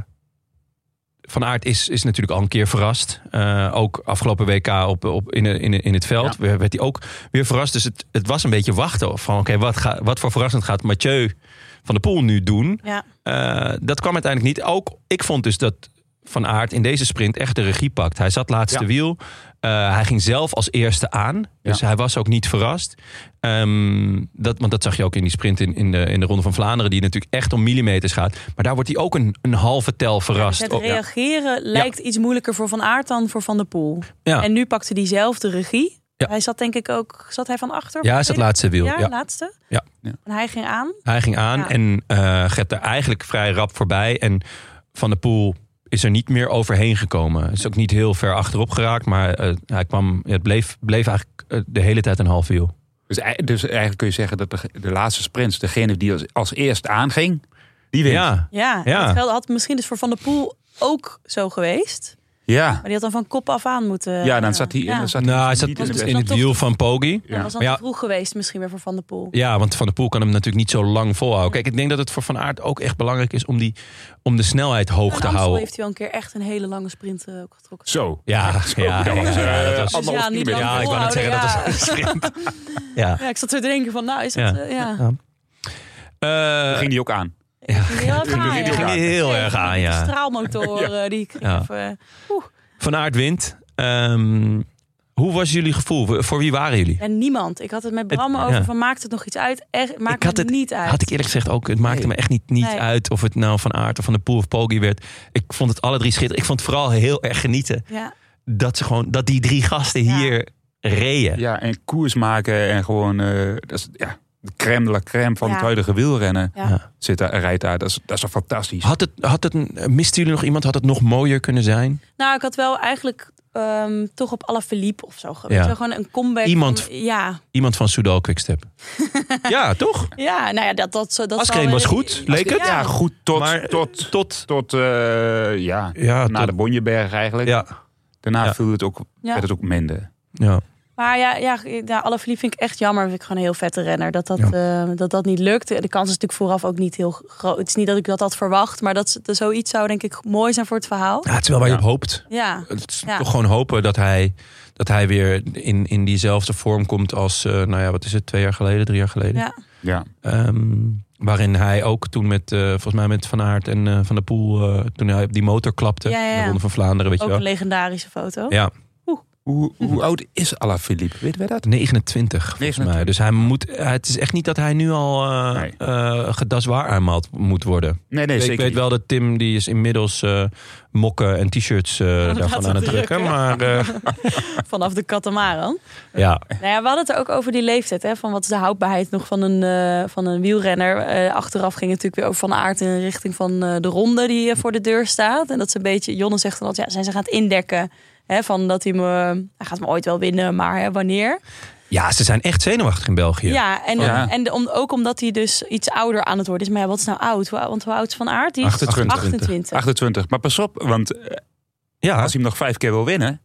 A: Van Aert is, is natuurlijk al een keer verrast. Eh, ook afgelopen WK op, op, in, in, in het veld werd- werd hij ook weer verrast. Dus het, het was een beetje wachten van oké, wat wat, wat voor verrassend gaat Mathieu van der Poel nu doen?
C: Ja,
A: Eh, dat kwam uiteindelijk niet. Ook ik vond dus dat Van Aert in deze sprint echt de regie pakt. Hij zat laatste
D: Ja.
A: wiel. Eh, hij ging zelf als eerste aan. Dus
D: Ja.
A: hij was ook niet verrast. Ehm, dat, want dat zag je ook in die sprint in, in, de, in de Ronde van Vlaanderen. Die natuurlijk echt om millimeters gaat. Maar daar wordt hij ook een, een halve tel verrast.
C: het
A: Oh, ja.
C: reageren lijkt iets moeilijker voor Van Aert dan voor Van der Poel.
A: Ja.
C: En nu pakte hij zelf de regie.
A: Ja.
C: Hij zat denk ik ook, zat hij van achter?
A: Ja, hij zat laatste wiel.
C: Ja,
A: Ja.
C: laatste.
A: Ja.
D: Ja.
C: En hij ging aan.
A: Hij ging aan
C: Ja.
A: en eh gaat er eigenlijk vrij rap voorbij. En Van der Poel is er niet meer overheen gekomen. Is ook niet heel ver achterop geraakt. Maar eh, hij kwam, het bleef, bleef eigenlijk eh, de hele tijd een half wiel.
D: Dus, ei- dus eigenlijk kun je zeggen dat de, de laatste sprints, degene die als, als eerst aanging, die wint.
A: Ja,
C: Ja,
A: Ja.
C: dat geldt- had misschien dus voor Van der Poel ook zo geweest.
D: ja.
C: Maar die had dan van kop af aan moeten...
D: Ja, dan zat hij,
C: Ja.
D: dan zat hij
A: nou, hij zat
D: niet
C: was
D: in de
A: in
D: beste.
A: het wiel van Poggi.
C: Ja, was dan
A: Maar ja.
C: te vroeg geweest misschien weer voor Van der Poel.
A: Ja, want Van der Poel kan hem natuurlijk niet zo lang volhouden. Kijk, ik denk dat het voor Van Aert ook echt belangrijk is om, die, om de snelheid hoog
C: Aan
A: te
C: Amstel
A: houden.
C: heeft hij wel een keer echt een hele lange sprint eh, ook getrokken.
D: Zo.
A: Ja, ja, ja,
D: dat was,
A: ja,
D: eh,
A: dat was-
C: Dus ja, niet
D: kilometer.
C: lang
A: ja, ik wou net zeggen,
C: volhouden,
A: dat
C: ja.
A: was een sprint. Ja. Eh,
C: Ja, ik zat zo te denken van, nou is
A: Ja.
C: dat... eh, ja.
A: Eh,
D: ging die ook aan.
C: Heel erg aan,
A: die ging heel erg aan,
C: De
A: ja.
C: straalmotor eh, die ik kreeg.
A: Ja.
C: of, eh,
A: Van Aert wint. Ehm, hoe was jullie gevoel? Voor wie waren jullie?
C: en niemand. Ik had het met Bram
A: Het-
C: over
A: ja.
C: van, maakt het nog iets uit? Echt, maakt
A: Ik had
C: het
A: het-
C: niet uit.
A: Had ik eerlijk gezegd ook, het maakte me echt niet, niet
C: Nee.
A: uit of het nou van Aert of van de Poel of Poggi werd. Ik vond het alle drie schitterend. Ik vond het vooral heel erg genieten
C: Ja,
A: dat, ze gewoon, dat die drie gasten
C: Ja.
A: hier reden.
D: Ja, en koers maken en gewoon, eh, dat is, ja, de crème de la crème van
C: Ja.
D: het huidige wielrennen
C: ja.
A: Ja.
D: zit daar, rijdt daar. Dat is, dat is toch fantastisch.
A: Had het, had het, een- misten jullie nog iemand? Had het nog mooier kunnen zijn?
C: Nou, ik had wel eigenlijk ehm, toch op alle Philippe of zo.
A: Ja.
C: Ja. zo gewoon een comeback.
A: Iemand-
C: van- ja,
A: Iemand van Soudal Quickstep. ja, toch?
C: ja, nou ja, dat dat zo. Dat
A: Askreen
C: zal-
A: was goed, leek het.
D: Ja, goed tot,
A: Maar-
D: tot,
A: Tot,
D: tot eh, ja,
A: ja,
D: na
A: tot-
D: de Bonjeberg eigenlijk.
A: ja,
D: Daarna
A: Ja.
D: viel het ook,
C: Ja.
D: werd het ook minder.
A: ja.
C: Maar ja, ja, ja Alaphilippe vind ik echt jammer. Vind ik gewoon een heel vette renner. Dat dat, eh, dat, dat niet lukt. De kans is natuurlijk vooraf ook niet heel groot. Het is niet dat ik dat had verwacht. Maar dat, dat zoiets zou denk ik mooi zijn voor het verhaal.
A: Ja, het is wel waar je op hoopt.
C: Ja,
A: Het is
C: Ja.
A: toch gewoon hopen dat hij, dat hij weer in, in diezelfde vorm komt als, eh, nou ja, wat is het, twee jaar geleden, drie jaar geleden.
C: ja.
D: Ja.
A: Ehm, waarin hij ook toen met, eh, volgens mij met Van Aert en eh, Van der Poel, eh, toen hij op die motor klapte,
C: Ja, ja,
A: in de
C: ja.
A: Ronde van Vlaanderen, weet
C: ook
A: je
C: een
A: wel.
C: legendarische foto.
A: Ja,
D: Hoe,
C: Mhm.
D: hoe oud is Alaphilippe? Weten wij dat?
A: 29 volgens
D: 29.
A: mij. Dus hij moet, eh, het is echt niet dat hij nu al eh
D: Nee.
A: eh, gedaswaar aanmaald moet worden.
D: Nee, nee,
A: ik
D: zeker
A: weet
D: niet.
A: wel dat Tim, die is inmiddels eh, mokken en t-shirts eh, daarvan aan het
C: drukken.
A: drukken. Maar eh,
C: Vanaf de Katamaran.
A: ja,
C: Nou ja, we hadden het ook over die leeftijd. Hè? Van wat is de houdbaarheid nog van een, eh, van een wielrenner? Eh, achteraf ging het natuurlijk weer over Van Aert in de richting van eh, de ronde die eh, voor de deur staat. En dat ze een beetje... Jonne zegt dan altijd, ja, zijn ze gaan het indekken? Hè? Van dat hij me... Hij gaat me ooit wel winnen, maar hè, wanneer?
A: ja, ze zijn echt zenuwachtig in België.
C: Ja, en,
D: Ja.
C: en de- om, ook omdat hij dus iets ouder aan het worden is. Maar ja, wat is nou oud? Hoe- Want hoe oud is Van Aert? Die is
D: 28.
C: 28.
D: 28. Maar pas op, want eh,
A: Ja.
D: als hij hem nog vijf keer wil winnen...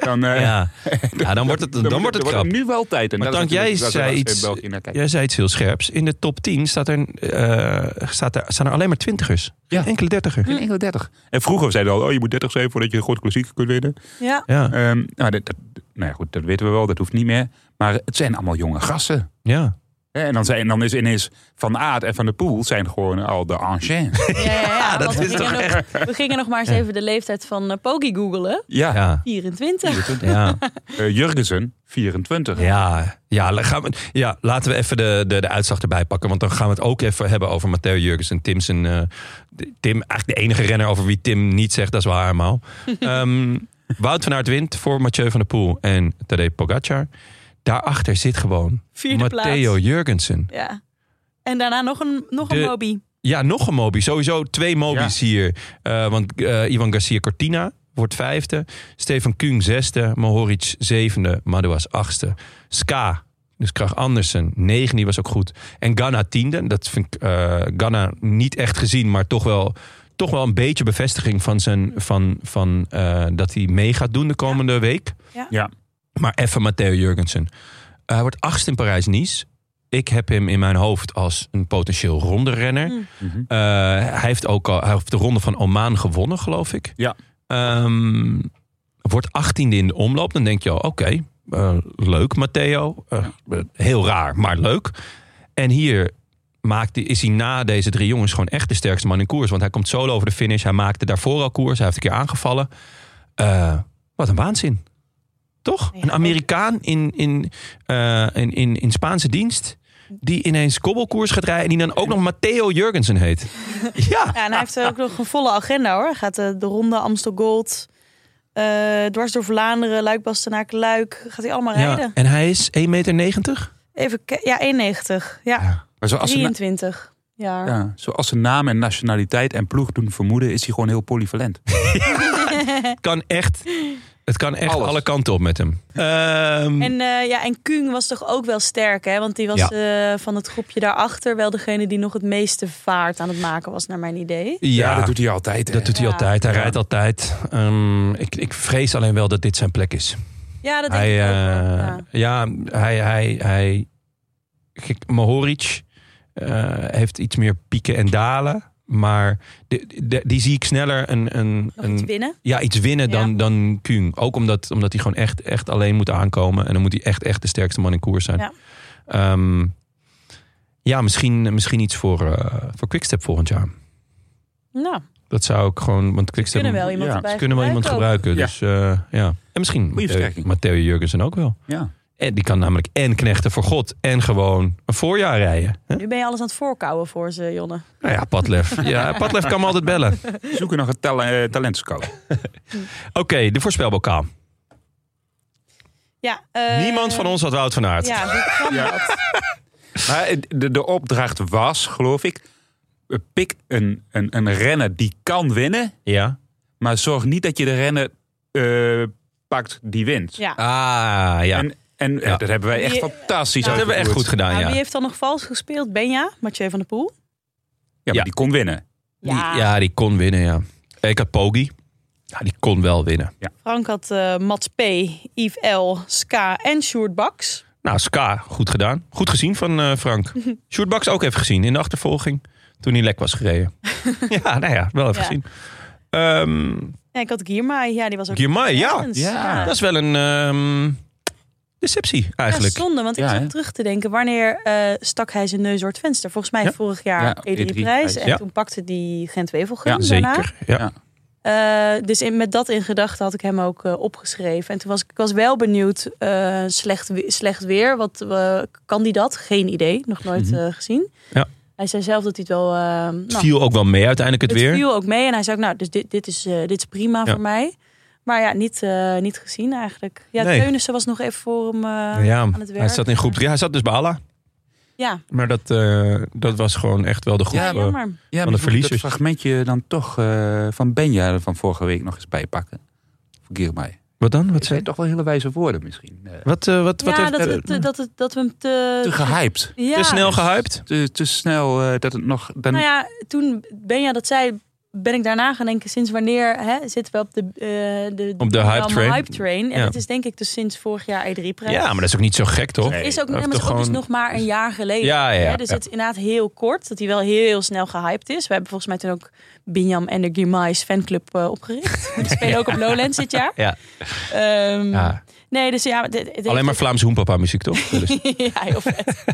D: dan, eh,
A: Ja. ja, dan wordt het, dan wordt het
D: wordt
A: krap.
D: nu wel tijd. En
A: Maar
D: dat is
A: Tank, jij
D: natuurlijk- dat is waar
A: zei
D: ze in
A: iets-
D: België naar kijken.
A: Jij zei iets heel scherps. In de top 10 staat er, eh, staat er, staan er alleen maar twintigers. Geen
D: Ja.
A: enkele dertiger.
D: Geen enkel 30. En vroeger zeiden we al, oh, je moet 30 zijn voordat je een grote klassieker kunt winnen.
C: Ja.
A: Ja,
D: Ehm, nou, dat, dat- nou ja, goed, dat weten we wel, dat hoeft niet meer. Maar het zijn allemaal jonge gasten.
A: ja.
D: Hè, En dan, zijn, dan is ineens Van Aard en Van der Poel zijn gewoon al de anciens.
C: Ja, ja, ja,
A: dat
C: want we
A: is
C: gingen
A: toch
C: nog- We gingen nog maar eens even de leeftijd van eh, Poggi googelen.
D: ja,
A: Ja.
C: 24.
A: Ja,
D: Eh, Jurgensen, 24.
A: ja, ja, la- gaan we, ja, laten we even de, de, de uitslag erbij pakken. Want dan gaan we het ook even hebben over Matteo Jurgensen. Tim, zijn, eh, de- Tim, eigenlijk de enige renner over wie Tim niet zegt, dat is wel helemaal. Ehm Wout van Aert wint voor Mathieu van der Poel en Tadej Pogacar. Daarachter zit gewoon
C: Vierde
A: Matteo
C: plaats.
A: Jurgensen.
C: Ja. En daarna nog een, nog een
A: De-
C: Moby.
A: Ja, nog een Mobi. Sowieso twee Mobis hier. Eh, want eh, Ivan Garcia Cortina wordt vijfde. Stefan Kung zesde. Mohoric zevende. Madouas achtste. Ska, dus Krach Andersen, negen. Die was ook goed. En Ganna tiende. Dat vind ik eh, Ganna niet echt gezien, maar toch wel... Toch wel een beetje bevestiging van, zijn, van, van eh, dat hij mee gaat doen de komende week.
D: Ja.
A: Maar even Matteo Jurgensen. Eh, Hij wordt achtste in Parijs-Nice. Ik heb hem in mijn hoofd als een potentieel ronde renner.
D: Mhm.
A: Eh, hij heeft ook al hij heeft de ronde van Oman gewonnen, geloof ik.
D: Ja.
A: Ehm, wordt 18e in de omloop. Dan denk je al, oké, eh, leuk Matteo. Eh, Heel raar, maar leuk. En hier maakt, hij- is hij na deze drie jongens gewoon echt de sterkste man in koers. Want hij komt solo over de finish. Hij maakte daarvoor al koers. Hij heeft een keer aangevallen. Eh, wat een waanzin. Toch?
C: Ja.
A: Een Amerikaan in, in, eh, in, in, in Spaanse dienst. Die ineens kobbelkoers gaat rijden. En die dan ook nog Matteo Jurgensen heet. Ja.
C: Ja, en hij heeft ook nog een volle agenda hoor. Hij gaat eh, de ronde Amstel Gold, eh, dwars door Vlaanderen, Luik, Bastenaak, Luik. Gaat hij allemaal
A: ja.
C: rijden?
A: En hij is 1,90 meter?
C: Even, ke- ja, 1,90. Ja,
D: Maar zoals ze, na-
C: 23 jaar.
D: ja, zoals zijn naam en nationaliteit en ploeg doen vermoeden, is hij gewoon heel polyvalent.
A: Het kan echt, het kan echt
D: Alles.
A: alle kanten op met hem. Ehm,
C: En, eh, ja, en Kung was toch ook wel sterk, hè? Want die was eh, van het groepje daarachter wel degene die nog het meeste vaart aan het maken was, naar mijn idee.
A: ja,
D: dat doet hij altijd. hè.
A: dat doet hij
C: Ja.
A: altijd. Hij
D: Ja.
A: rijdt altijd. Ehm, ik, ik vrees alleen wel dat dit zijn plek is.
C: Ja, dat denk
A: Hij,
C: ik ook. wel,
A: eh,
C: ja.
A: ja. hij, hij, hij. Kijk, Mohoric eh, heeft iets meer pieken en dalen. Maar de, de- die zie ik sneller een, een,
C: Nog iets
A: een,
C: winnen.
A: ja, iets winnen dan,
C: Ja.
A: dan Kuhn. Ook omdat, omdat hij gewoon echt, echt alleen moet aankomen. En dan moet hij echt, echt de sterkste man in koers zijn.
C: Ja.
A: Ja, ja misschien, misschien iets voor, eh, voor Quickstep volgend jaar.
C: Nou,
A: Dat zou ik gewoon... Want Quickstep
C: kunnen wel iemand
D: ja,
C: erbij
A: ze kunnen wel iemand
C: gebruiken
A: gebruiken.
D: ook.
A: Dus, eh, ja. En misschien Matteo,
D: versterking.
A: Matteo Jurgensen ook wel.
D: Ja.
A: En die kan namelijk en knechten voor God en gewoon een voorjaar rijden. Hè?
C: ook. Nu ben je alles aan het voorkouwen voor ze, Jonne.
A: Nou ja, Padlef. Ja, Padlef kan me altijd bellen. Oké,
D: Zoeken nog een tal- eh, talentscout.
A: de voorspelbokaal.
C: Ja, eh,
A: Niemand van ons had Wout van Aert.
C: Ja, hoe kan
D: Ja.
C: dat?
D: Maar de, de opdracht was, geloof ik, eh, pik een, een, een renner die kan winnen,
A: Ja.
D: maar zorg niet dat je de renner eh, pakt die wint.
C: Ja.
A: Ah, ja.
D: En, en eh,
A: Ja.
D: dat hebben wij echt
C: Die-
D: fantastisch
A: dat hebben we echt goed
D: uitgevoerd.
A: gedaan,
C: Nou,
A: ja.
C: Wie heeft dan nog vals gespeeld? Benja, Mathieu van der Poel.
D: Ja, maar
A: Ja.
D: die kon winnen.
A: Die- ja, die kon winnen, ja. Ik Eh, had Pogi. Ja, die kon wel winnen.
C: Frank had eh, Mats P, Yves L, Ska en Sjoerd Baks.
A: Nou, Ska, goed gedaan. Goed gezien van eh, Frank. Sjoerd Baks ook even gezien in de achtervolging. Toen hij lek was gereden. ja, nou ja, wel even
C: Ja.
A: gezien. Ehm
C: En ik had Giermaai. Ja, die was ook...
A: Girmay, ja.
C: ergens.
D: Ja.
A: Dat is wel een ehm, deceptie
C: Ja,
A: eigenlijk.
C: zonde, want ik
D: Ja,
C: zat
D: hè?
C: terug te denken, wanneer eh, stak hij zijn neus door het venster? Volgens mij
A: Ja.
C: vorig jaar
D: Ja,
C: E3
D: E3
C: prijs.
D: prijs.
C: En
A: Ja.
C: toen pakte die Gent Wevelgem
D: Ja,
C: daarna.
A: Zeker, ja.
D: Ja.
C: Eh, dus in, met dat in gedachten had ik hem ook eh, opgeschreven. En toen was ik, ik was wel benieuwd, eh, slecht, we- slecht weer, wat eh, kan die dat? Geen idee, nog nooit eh, gezien.
A: Mhm. Ja.
C: Hij zei zelf dat hij het wel... eh,
A: Het
C: nou,
A: viel ook wel mee uiteindelijk
C: het
A: het, weer.
C: viel ook mee. En hij zei ook, nou, dus dit, dit, is, eh, dit is prima
A: Ja.
C: voor mij. Maar ja, niet, eh, niet gezien eigenlijk. Ja,
A: Nee.
C: Teunissen was nog even voor hem eh,
A: ja,
C: aan het werk.
A: hij zat in groep 3. Hij zat dus bij Allah.
C: Ja,
A: Maar dat, eh, dat was gewoon echt wel de groep.
D: Ja,
A: eh,
C: jammer.
D: Ja,
A: de
D: maar moet ik dat
A: verliezers.
D: fragmentje dan toch eh, van Benja van vorige week nog eens bijpakken. Vergeer mij.
A: wat dan? Wat,
D: Het
C: Hm.
A: zei,
D: zijn toch wel hele wijze woorden misschien. Eh,
A: wat, eh, wat, wat
C: ja,
A: heeft-
C: dat,
A: eh,
C: het, eh, dat, het, dat we hem te,
D: te gehyped.
C: ja.
A: te snel gehyped?
D: Te, te snel eh, dat het nog... Dan,
C: Nou ja, toen Benja dat zei, ben ik daarna gaan denken: sinds wanneer hè, zitten we op de, eh, de,
A: Op de
C: Bram
A: hype train.
C: hype train? En
A: Ja.
C: dat is denk ik dus sinds vorig jaar E3-prijs.
A: Ja, maar dat is ook niet zo gek, toch?
D: Nee.
C: is ook, nee,
A: dat
C: maar het is
A: toch
C: ook dus
A: gewoon-
C: nog maar een jaar geleden.
A: Ja, ja,
C: hè? dus
A: ja.
C: het is inderdaad heel kort dat hij wel heel snel gehyped is. We hebben volgens mij toen ook Binjam en de Girmais fanclub eh, opgericht. Die spelen ook op Lowlands dit jaar.
A: Ja.
C: Ehm,
A: Ja.
C: Nee, dus ja, dit- dit-
A: Alleen maar Vlaams hoenpapa muziek, toch? Dat is
C: ja, heel vet.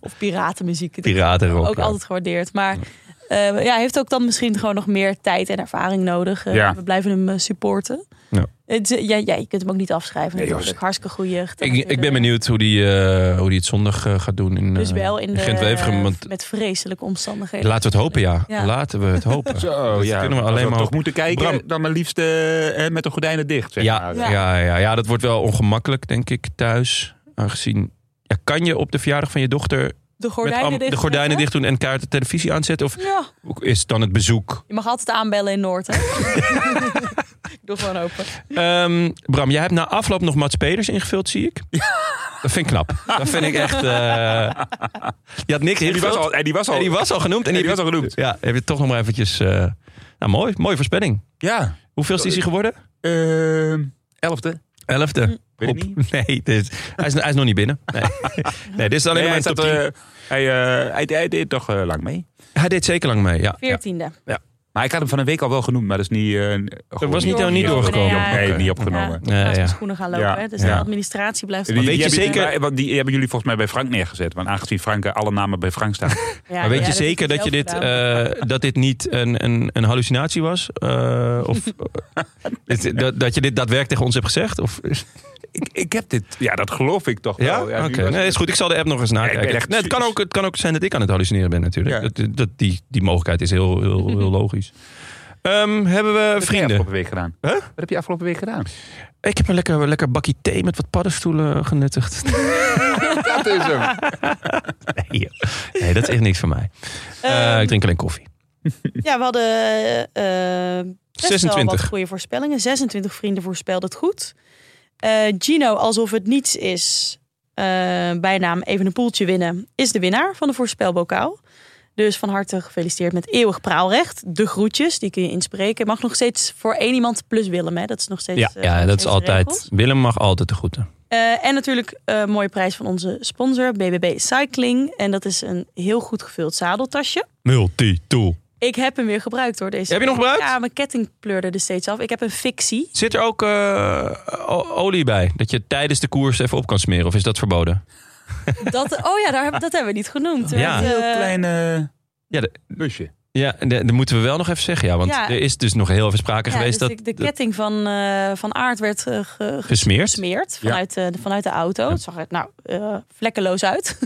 C: of piratenmuziek. Dat
A: piratenrock.
C: ook
A: ja.
C: altijd gewaardeerd. Maar eh, ja, hij heeft ook dan misschien gewoon nog meer tijd en ervaring nodig. Eh,
D: Ja.
C: We blijven hem eh, supporten.
A: Ja.
C: Het, is- ja, ja, je kunt hem ook niet afschrijven.
D: Nee, joh,
C: natuurlijk. Hartstikke goeie.
A: Ik, ik ben benieuwd hoe die, eh, hoe die het zondag eh, gaat doen in, eh,
C: Dus wel in, de,
A: Gent-Wevergem. Want
C: met vreselijke omstandigheden.
A: laten we het hopen, ja.
C: Ja.
A: Laten we het hopen.
D: Zo, ja.
A: kunnen we alleen
D: Als
A: maar
D: toch
A: op-
D: moeten kijken,
A: Bram.
D: dan maar liefst eh, eh, met de gordijnen dicht. Zeg
A: Ja,
D: maar.
A: ja. Ja, ja, dat wordt wel ongemakkelijk, denk ik, thuis. Aangezien, ja, kan je op de verjaardag van je dochter
C: de
A: met
C: gordijnen,
A: am-
C: dicht,
A: de gordijnen dicht doen en kaarten televisie aanzetten? Of
C: Ja,
A: hoe is het dan het bezoek?
C: je mag altijd aanbellen in Noord. Hè? ik doe gewoon open.
A: Ehm, Bram, jij hebt na afloop nog Mats Peders ingevuld, zie ik. Dat vind ik knap. Dat vind ik echt... eh, Je had niks
D: En die was al,
A: ingevuld.
D: en die was al,
A: En die was al genoemd. En
D: en die
A: heb
D: was al
A: je-
D: genoemd.
A: Ja, heb je toch nog maar eventjes... eh, Nou, mooi. Mooie voorspelling.
D: Ja.
A: Hoeveelste is hij geworden?
D: Ehm, Eh, elfde.
C: Hm.
A: Elfde.
D: Weet ik
A: Op-
D: niet.
A: Nee, dit is- hij, is, hij is nog niet binnen. Nee, nee dit is alleen
D: Nee,
A: maar
D: hij,
A: een top
D: zat,
A: 10.
D: eh, hij, eh, hij, hij deed toch eh, lang mee.
A: Hij deed zeker lang mee, ja. ja.
C: Veertiende.
D: Maar ik had hem van een week al wel genoemd, maar dat is niet... eh, gewoon
A: was niet- niet
C: doorgekomen.
D: Nee,
C: Nee, ja.
D: niet opgenomen.
C: Ja,
A: Ja,
C: naast mijn
A: ja.
C: schoenen gaan lopen.
D: Ja.
C: Hè? Dus de
A: Ja.
C: administratie blijft...
D: Die,
A: weet
D: die
A: je
D: hebben-
A: zeker-
D: want die hebben jullie volgens mij bij Frank neergezet. Want aangezien Frank eh, alle namen bij Frank staan.
C: Ja,
A: maar weet
C: ja,
A: je
C: dat heb
A: zeker
C: ik
A: dat, je
C: zelf
A: dit,
C: gedaan.
A: eh, dat dit niet een, een, een hallucinatie was? Eh, of dit- dat, dat je dit daadwerkelijk tegen ons hebt gezegd? Of,
D: ik, ik heb dit... Ja, dat geloof ik toch
A: ja?
D: wel. Ja, nu
A: Oké,
D: was-
A: nee, is goed. Ik zal de app nog eens
D: ik
A: nakijken.
D: ben echt-
A: Nee, het, kan ook, het kan ook zijn dat ik aan het hallucineren ben natuurlijk.
D: Ja.
A: Dat, dat, die, die mogelijkheid is heel, heel, heel logisch. Ehm, hebben we
D: Wat heb je
A: vrienden?
D: afgelopen week gedaan?
A: Huh?
D: Wat heb je afgelopen week gedaan?
A: Ik heb een lekker, lekker bakje thee met wat paddenstoelen genuttigd.
D: Dat is hem.
A: Nee, joh. nee, dat is echt niks voor mij.
C: Ehm,
A: Eh, ik drink alleen koffie.
C: Ja, we hadden eh, eh, best 26. wel
A: 26.
C: wat goede voorspellingen. 26 vrienden voorspelden het goed. Eh, Gino, alsof het niets is, eh, bijnaam even een poeltje winnen, is de winnaar van de voorspelbokaal. Dus van harte gefeliciteerd met eeuwig praalrecht. De groetjes, die kun je inspreken. Mag nog steeds voor één iemand plus Willem, hè? Dat is nog steeds...
A: Ja,
C: eh,
A: ja
C: nog
A: dat
C: steeds
A: is
C: de
A: altijd.
C: regels.
A: Willem mag altijd de groeten.
C: Eh, en natuurlijk een mooie prijs van onze sponsor, BBB Cycling. En dat is een heel goed gevuld zadeltasje.
A: Multitool.
C: Ik heb hem weer gebruikt hoor. Deze
A: Heb je nog gebruikt?
C: Ja, mijn ketting pleurde er steeds af. Ik heb een fictie.
A: Zit er ook eh, o- olie bij? Dat je tijdens de koers even op kan smeren? Of is dat verboden?
C: Dat, oh ja, daar, hebben- dat hebben we niet genoemd.
A: Ja.
C: Want, eh,
D: Heel klein eh,
A: Ja, de-
D: busje.
A: ja de- dat moeten we wel nog even zeggen. Ja, want
C: Ja.
A: er is dus nog heel even sprake
C: ja,
A: geweest
C: dus
A: dat,
C: de, de
A: dat
C: ketting van, eh van Aard werd eh, ge- ge-
A: gesmeerd.
C: gesmeerd vanuit, eh, de, vanuit de auto. Het zag er nou eh, vlekkeloos uit.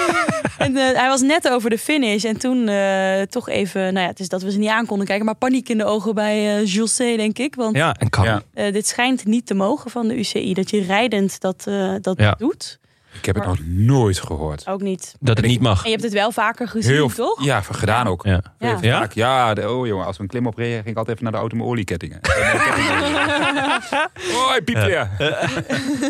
C: en eh, hij was net over de finish. En toen eh, toch even, nou ja, het is dat we ze niet aan konden kijken. Maar paniek in de ogen bij eh Jules C, denk ik. Want
A: Ja, en kan.
D: Ja.
C: eh, dit schijnt niet te mogen van de UCI. Dat je rijdend dat, eh, dat
A: Ja.
C: doet.
D: Ik heb het
C: Maar-
D: nog nooit gehoord.
C: Ook niet.
A: Dat het niet mag.
C: En je hebt het wel vaker gezien, toch?
D: Ja, gedaan ook.
A: Ja.
C: Ja.
A: Ja?
D: Vaak, ja, de, oh jongen, als we een klim op reden, ging ik altijd even naar de auto met oliekettingen. En, eh, kettingen. Oh, hij piept weer.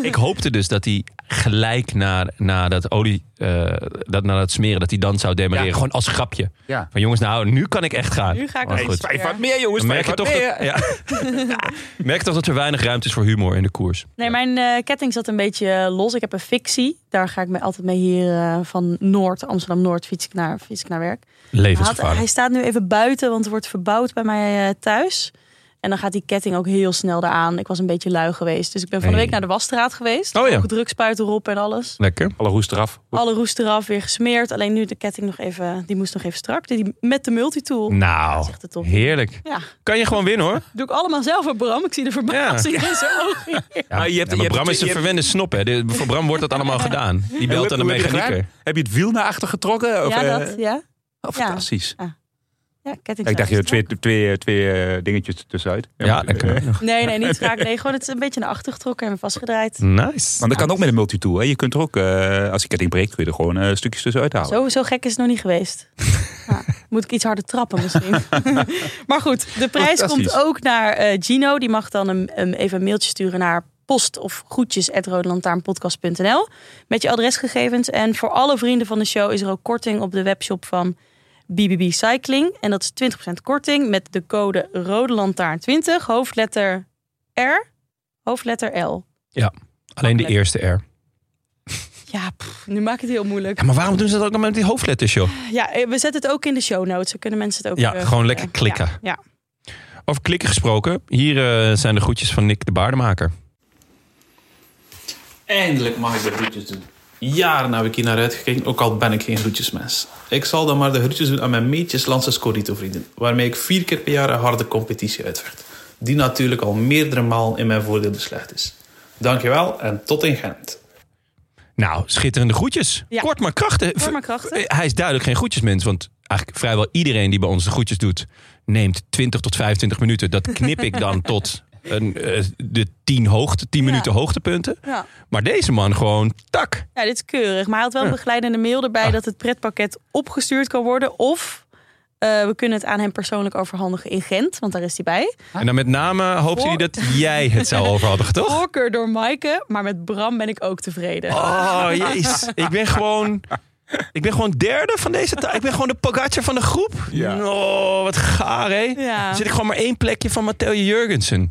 A: Ik hoopte dus dat hij gelijk na, na dat olie, eh, dat, na dat smeren, dat hij dan zou demareren.
D: Ja.
A: Gewoon als grapje.
D: Ja.
A: Van jongens, nou, nu kan ik echt gaan.
C: Nu ga ik
A: Maar
C: echt
A: goed.
C: staan.
D: Vijf wat meer, jongens.
A: Dan merk
D: Vijf
A: je
D: wat
A: toch dat,
D: meer.
A: ja. merk je toch dat er weinig ruimte is voor humor in de koers.
C: Nee, mijn eh, ketting zat een beetje eh, los. Ik heb een fictie. Daar ga ik me altijd mee hier eh, van Noord, Amsterdam-Noord, fiets ik naar, fiets ik naar werk. Hij, had- hij
A: Levensgevaarlijk.
C: staat nu even buiten, want er wordt verbouwd bij mij eh, thuis. En dan gaat die ketting ook heel snel eraan. Ik was een beetje lui geweest. Dus ik ben van de
A: Hey.
C: week naar de wasstraat geweest.
A: Oh ja.
C: Ook drukspuit erop en alles.
A: Lekker.
D: Alle roest eraf.
C: Alle roest eraf, weer gesmeerd. Alleen nu de ketting nog even, die moest nog even strak. Die, met de multitool.
A: Nou,
C: Zegt de top.
A: heerlijk.
C: Ja,
A: Kan je gewoon winnen hoor.
C: doe ik allemaal zelf aan Bram. Ik zie de verbazing in zijn ogen.
A: Ja,
D: Maar je hebt-
A: maar
D: je hebt-
A: Bram is een
D: je hebt-
A: verwende snop. Hè. De- Voor Bram wordt dat allemaal gedaan. Die belt aan de
D: Hoe heb je dat
A: mechanieker.
D: gedaan? Heb je het wiel naar achter getrokken? Of,
C: Ja,
D: eh,
C: dat, ja.
D: oh,
C: Ja.
D: fantastisch.
C: Ja, ketting.
D: Ik dacht, je twee, twee, twee eh, dingetjes tussenuit. eh,
A: Ja,
D: maar-
A: dat kan ook nog.
C: Nee, nee, niet vaak. Nee, gewoon het een beetje naar achter getrokken en vastgedraaid.
A: Nice.
D: Want dat kan ook met een multitool. Hè. Je kunt er ook, eh, als je ketting breekt, kun je er gewoon eh, stukjes tussenuit halen.
C: Zo, zo gek is het nog niet geweest. Nou, moet ik iets harder trappen misschien. maar goed, de prijs komt
D: Fantastisch.
C: ook naar eh, Gino. Die mag dan een, een- even een mailtje sturen naar post of groetjes@roodlantaarnpodcast.nl met je adresgegevens. En voor alle vrienden van de show is er ook korting op de webshop van BBB Cycling. En dat is 20% korting met de code RODELANTAARN20, hoofdletter R, hoofdletter L.
A: Alleen de eerste R.
C: Ja, pff, nu maak ik het heel moeilijk.
A: Ja, maar waarom doen ze dat ook nog met die hoofdletters, joh?
C: Ja, eh, we zetten het ook in de show notes. Dan kunnen mensen het ook...
A: Ja,
C: eh,
A: gewoon lekker
C: eh,
A: klikken.
C: ja, ja.
A: Over klikken gesproken. Hier eh, zijn de groetjes van Nick de Baardemaker.
F: Eindelijk mag ik de groetjes doen. Jaren heb ik hier naar uitgekeken, ook al ben ik geen groetjesmens. Ik zal dan maar de groetjes doen aan mijn meetjes Landse Scorito-vrienden, waarmee ik vier keer per jaar een harde competitie uitvecht. Die natuurlijk al meerdere malen in mijn voordeel beslecht is. Dankjewel en tot in Gent.
A: Nou, schitterende groetjes.
C: Ja.
A: Kort maar krachtig.
C: Kort maar krachtig.
A: Eh, Hij is duidelijk geen groetjesmens. Want eigenlijk vrijwel iedereen die bij ons de groetjes doet... neemt 20 tot 25 minuten. Dat knip ik dan tot een, eh, de 10, hoogte, 10
C: Ja.
A: minuten hoogtepunten.
C: Ja.
A: Maar deze man gewoon tak.
C: Ja, dit is keurig. Maar hij had wel een begeleidende mail erbij dat het pretpakket opgestuurd kan worden. Of eh, we kunnen het aan hem persoonlijk overhandigen in Gent, want daar is hij bij.
A: En dan met name hoopte hij
C: Voor-
A: dat jij het zou overhandigen, toch?
C: Voorkeur door Maaike, maar met Bram ben ik ook tevreden.
A: Oh, jeez. Ik ben gewoon... Ik ben gewoon derde van deze taal. Ik ben gewoon de Pogacar van de groep.
D: Ja.
A: Oh, wat gaar, hè?
C: Ja.
A: Dan Zit ik gewoon maar één plekje van Matteo Jurgensen.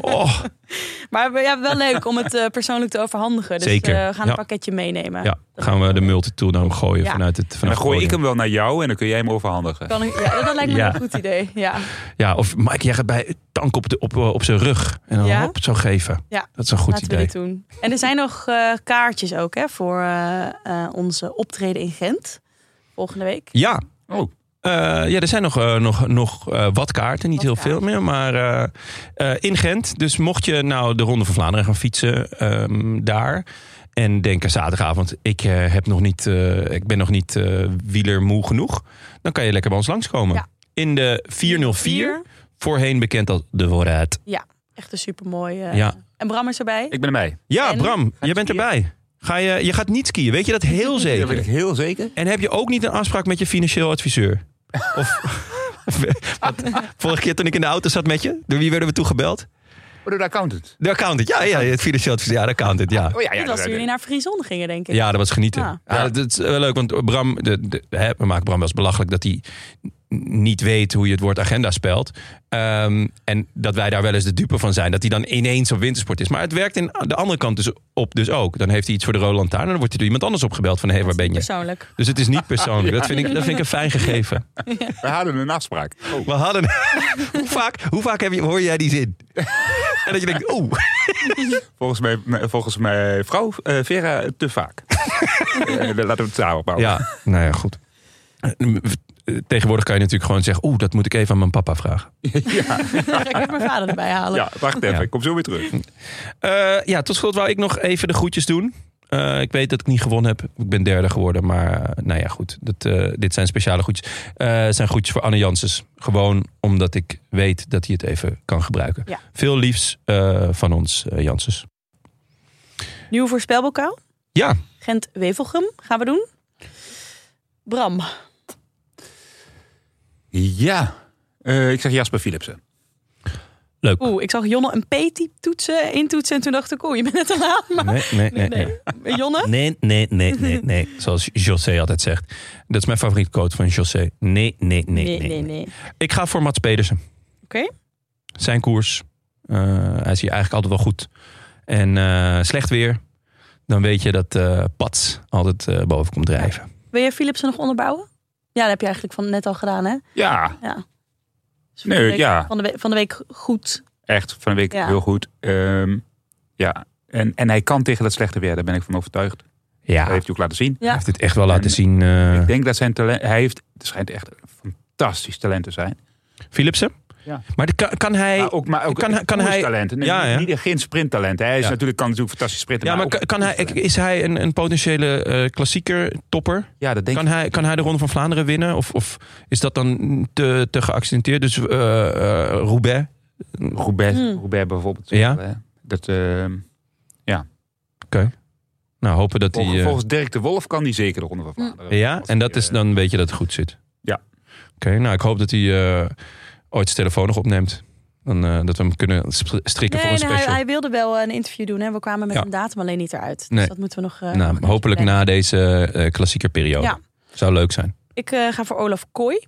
A: Oh,
C: Maar we- ja, wel leuk om het eh, persoonlijk te overhandigen. Dus
A: Zeker.
C: eh, we gaan
A: Ja.
C: een pakketje meenemen.
A: ja. Gaan we de multitool nou gooien
C: Ja.
A: vanuit het
D: En
A: vanuit
D: dan gooi ik
A: het
D: hem wel naar jou en dan kun jij hem overhandigen.
C: Kan ik, ja, dat lijkt me
A: Ja.
C: een goed idee. Ja.
A: podium. Ja, of Mike, jij gaat bij tank op, de, op, eh, op zijn rug. En dan
C: Ja?
A: hop, zo geven.
C: Ja.
A: Dat is een goed
C: Laten we
A: idee.
C: dit doen. En er zijn nog eh, kaartjes ook hè, voor eh, eh, onze optreden in Gent volgende week.
A: Ja.
D: Oh.
A: Eh, ja, er zijn nog, eh, nog, nog eh, wat kaarten. Niet
C: Wat
A: heel veel meer, maar eh, eh, in Gent. Dus mocht je nou de Ronde van Vlaanderen gaan fietsen ehm, daar... en denken zaterdagavond, ik, eh, heb nog niet, eh, ik ben nog niet eh, wielermoe genoeg... dan kan je lekker bij ons langskomen.
C: Ja.
A: In de 404, voorheen bekend als de Voorraad.
C: Echt een supermooi. eh,
A: Ja.
C: En Bram is erbij.
D: Ik ben erbij.
A: Ja,
C: En?
A: Bram, jij bent
C: skiën?
A: erbij. Ga je, je gaat niet skiën, weet je dat heel
D: Dat weet
A: zeker?
D: ik heel zeker.
A: En heb je ook niet een afspraak met je financieel adviseur? Of, wat, vorige keer toen ik in de auto zat met je, door wie werden we toegebeld?
D: Oh, Door de accountant.
A: De accountant, ja, ja, het financieel adviseur, ja, de accountant, ja.
D: Oh ja, ja.
C: Dit was toen jullie
D: ja,
C: naar Frison gingen, denk ik.
A: Ja, dat was genieten.
C: Ja.
A: Ja, dat is wel leuk, want Bram, de, de, hè, we maken Bram wel eens belachelijk dat hij niet weet hoe je het woord agenda spelt. Ehm, en dat wij daar wel eens de dupe van zijn. Dat hij dan ineens op wintersport is. Maar het werkt in de andere kant dus op dus ook. Dan heeft hij iets voor de Roland Lantaarn en dan wordt hij door iemand anders opgebeld van hé, hey, waar ben je?
C: Persoonlijk.
A: Dus het is niet persoonlijk. Dat vind ik, dat vind ik een fijn gegeven.
D: We hadden een afspraak.
A: Oh. We hadden. hoe vaak, hoe vaak heb je, hoor jij die zin? en dat je denkt, oeh.
D: Volgens mij, volgens mij vrouw eh, Vera te vaak. Eh, Laten we het samen bouwen.
A: Ja, nou ja, goed. Tegenwoordig kan je natuurlijk gewoon zeggen, oeh, dat moet ik even aan mijn papa vragen.
C: Ik heb mijn vader erbij halen.
D: Ja, wacht even.
A: Ja.
D: Ik kom zo weer terug.
A: Eh, ja, tot slot wou ik nog even de groetjes doen. Eh, ik weet dat ik niet gewonnen heb. Ik ben derde geworden. Maar eh, nou ja, goed. Dat, eh, dit zijn speciale groetjes. Eh, het zijn groetjes voor Anne Janssens. Gewoon omdat ik weet dat hij het even kan gebruiken.
C: Ja.
A: Veel liefs eh, van ons, eh, Janssens.
C: Nieuw voorspelbokaal.
A: Ja,
C: Gent-Wevelgem gaan we doen. Bram,
D: Ja. Eh, ik zeg Jasper Philipsen.
A: Leuk.
C: Oeh, ik zag Jonne een petit toetsen, intoetsen. En toen dacht ik, oeh, je bent net te laat. Maar
A: Nee, nee, nee.
C: nee,
A: nee.
C: Jonne?
A: Nee, nee, nee, nee, nee. Zoals José altijd zegt. Dat is mijn favoriete quote van José. Nee, nee, nee, nee. Ik ga voor Mats Pedersen.
C: Oké.
A: Zijn koers. eh, hij is hier eigenlijk altijd wel goed. En eh, slecht weer. Dan weet je dat eh Pats altijd eh, boven komt drijven.
C: Wil je Philipsen nog onderbouwen? Ja, dat heb je eigenlijk van net al gedaan, hè?
D: Ja,
C: Ja. Dus van,
D: Nee,
C: de week,
A: Ah.
D: ja.
C: van, de week, van de week goed.
D: echt. Van de week
C: Ja.
D: heel goed. Ehm, ja, en, en hij kan tegen dat slechte weer. Daar ben ik van overtuigd.
A: Ja,
D: Dat heeft hij ook laten zien.
A: hij heeft dit echt wel laten
D: En-
A: zien. eh,
D: Ik denk dat zijn talent... Hij heeft, het schijnt echt een fantastisch talent te zijn.
A: Philipsen.
D: Ja.
A: Maar kan, kan hij...
D: maar ook, maar ook
A: kan hij- kan hij-
D: talent.
A: Ja, ja.
D: Niet, geen sprinttalent. Hij is
A: Ja.
D: natuurlijk, kan natuurlijk fantastisch sprinten.
A: ja, maar
D: nou, ook
A: kan, kan hij,
D: koerstalent.
A: is hij een, een potentiële eh, klassieker topper?
D: ja, dat denk
A: Kan
D: ik.
A: hij, kan hij de Ronde van Vlaanderen winnen? Of, of is dat dan te, te geaccidenteerd? Dus eh, eh, Roubaix?
D: Robert,
C: Hmm.
D: Robert bijvoorbeeld.
A: Ja.
D: Hè? Dat, ehm,
A: Nou, hopen dat hij...
D: volgens,
A: eh,
D: volgens Dirk de Wolf kan die zeker de Ronde
C: Hmm.
D: van Vlaanderen.
A: Ja,
D: Als
A: en dat
D: hij,
A: is
D: eh,
A: dan weet je dat het goed zit.
D: Ja.
A: Oké, nou ik hoop dat hij eh, ooit zijn telefoon nog opneemt. Dan, eh, dat we hem kunnen sp- strikken
C: Nee,
A: voor een
C: nee, hij,
A: special.
C: hij wilde wel eh, een interview doen. Hè? We kwamen met
A: Ja.
C: een datum alleen niet eruit. Dus
A: Nee.
C: dat moeten we nog... eh,
A: nou,
C: nog
A: hopelijk
C: plannen.
A: na deze eh klassieke periode.
C: Ja.
A: Zou leuk zijn.
C: Ik eh, ga voor Olaf Kooi.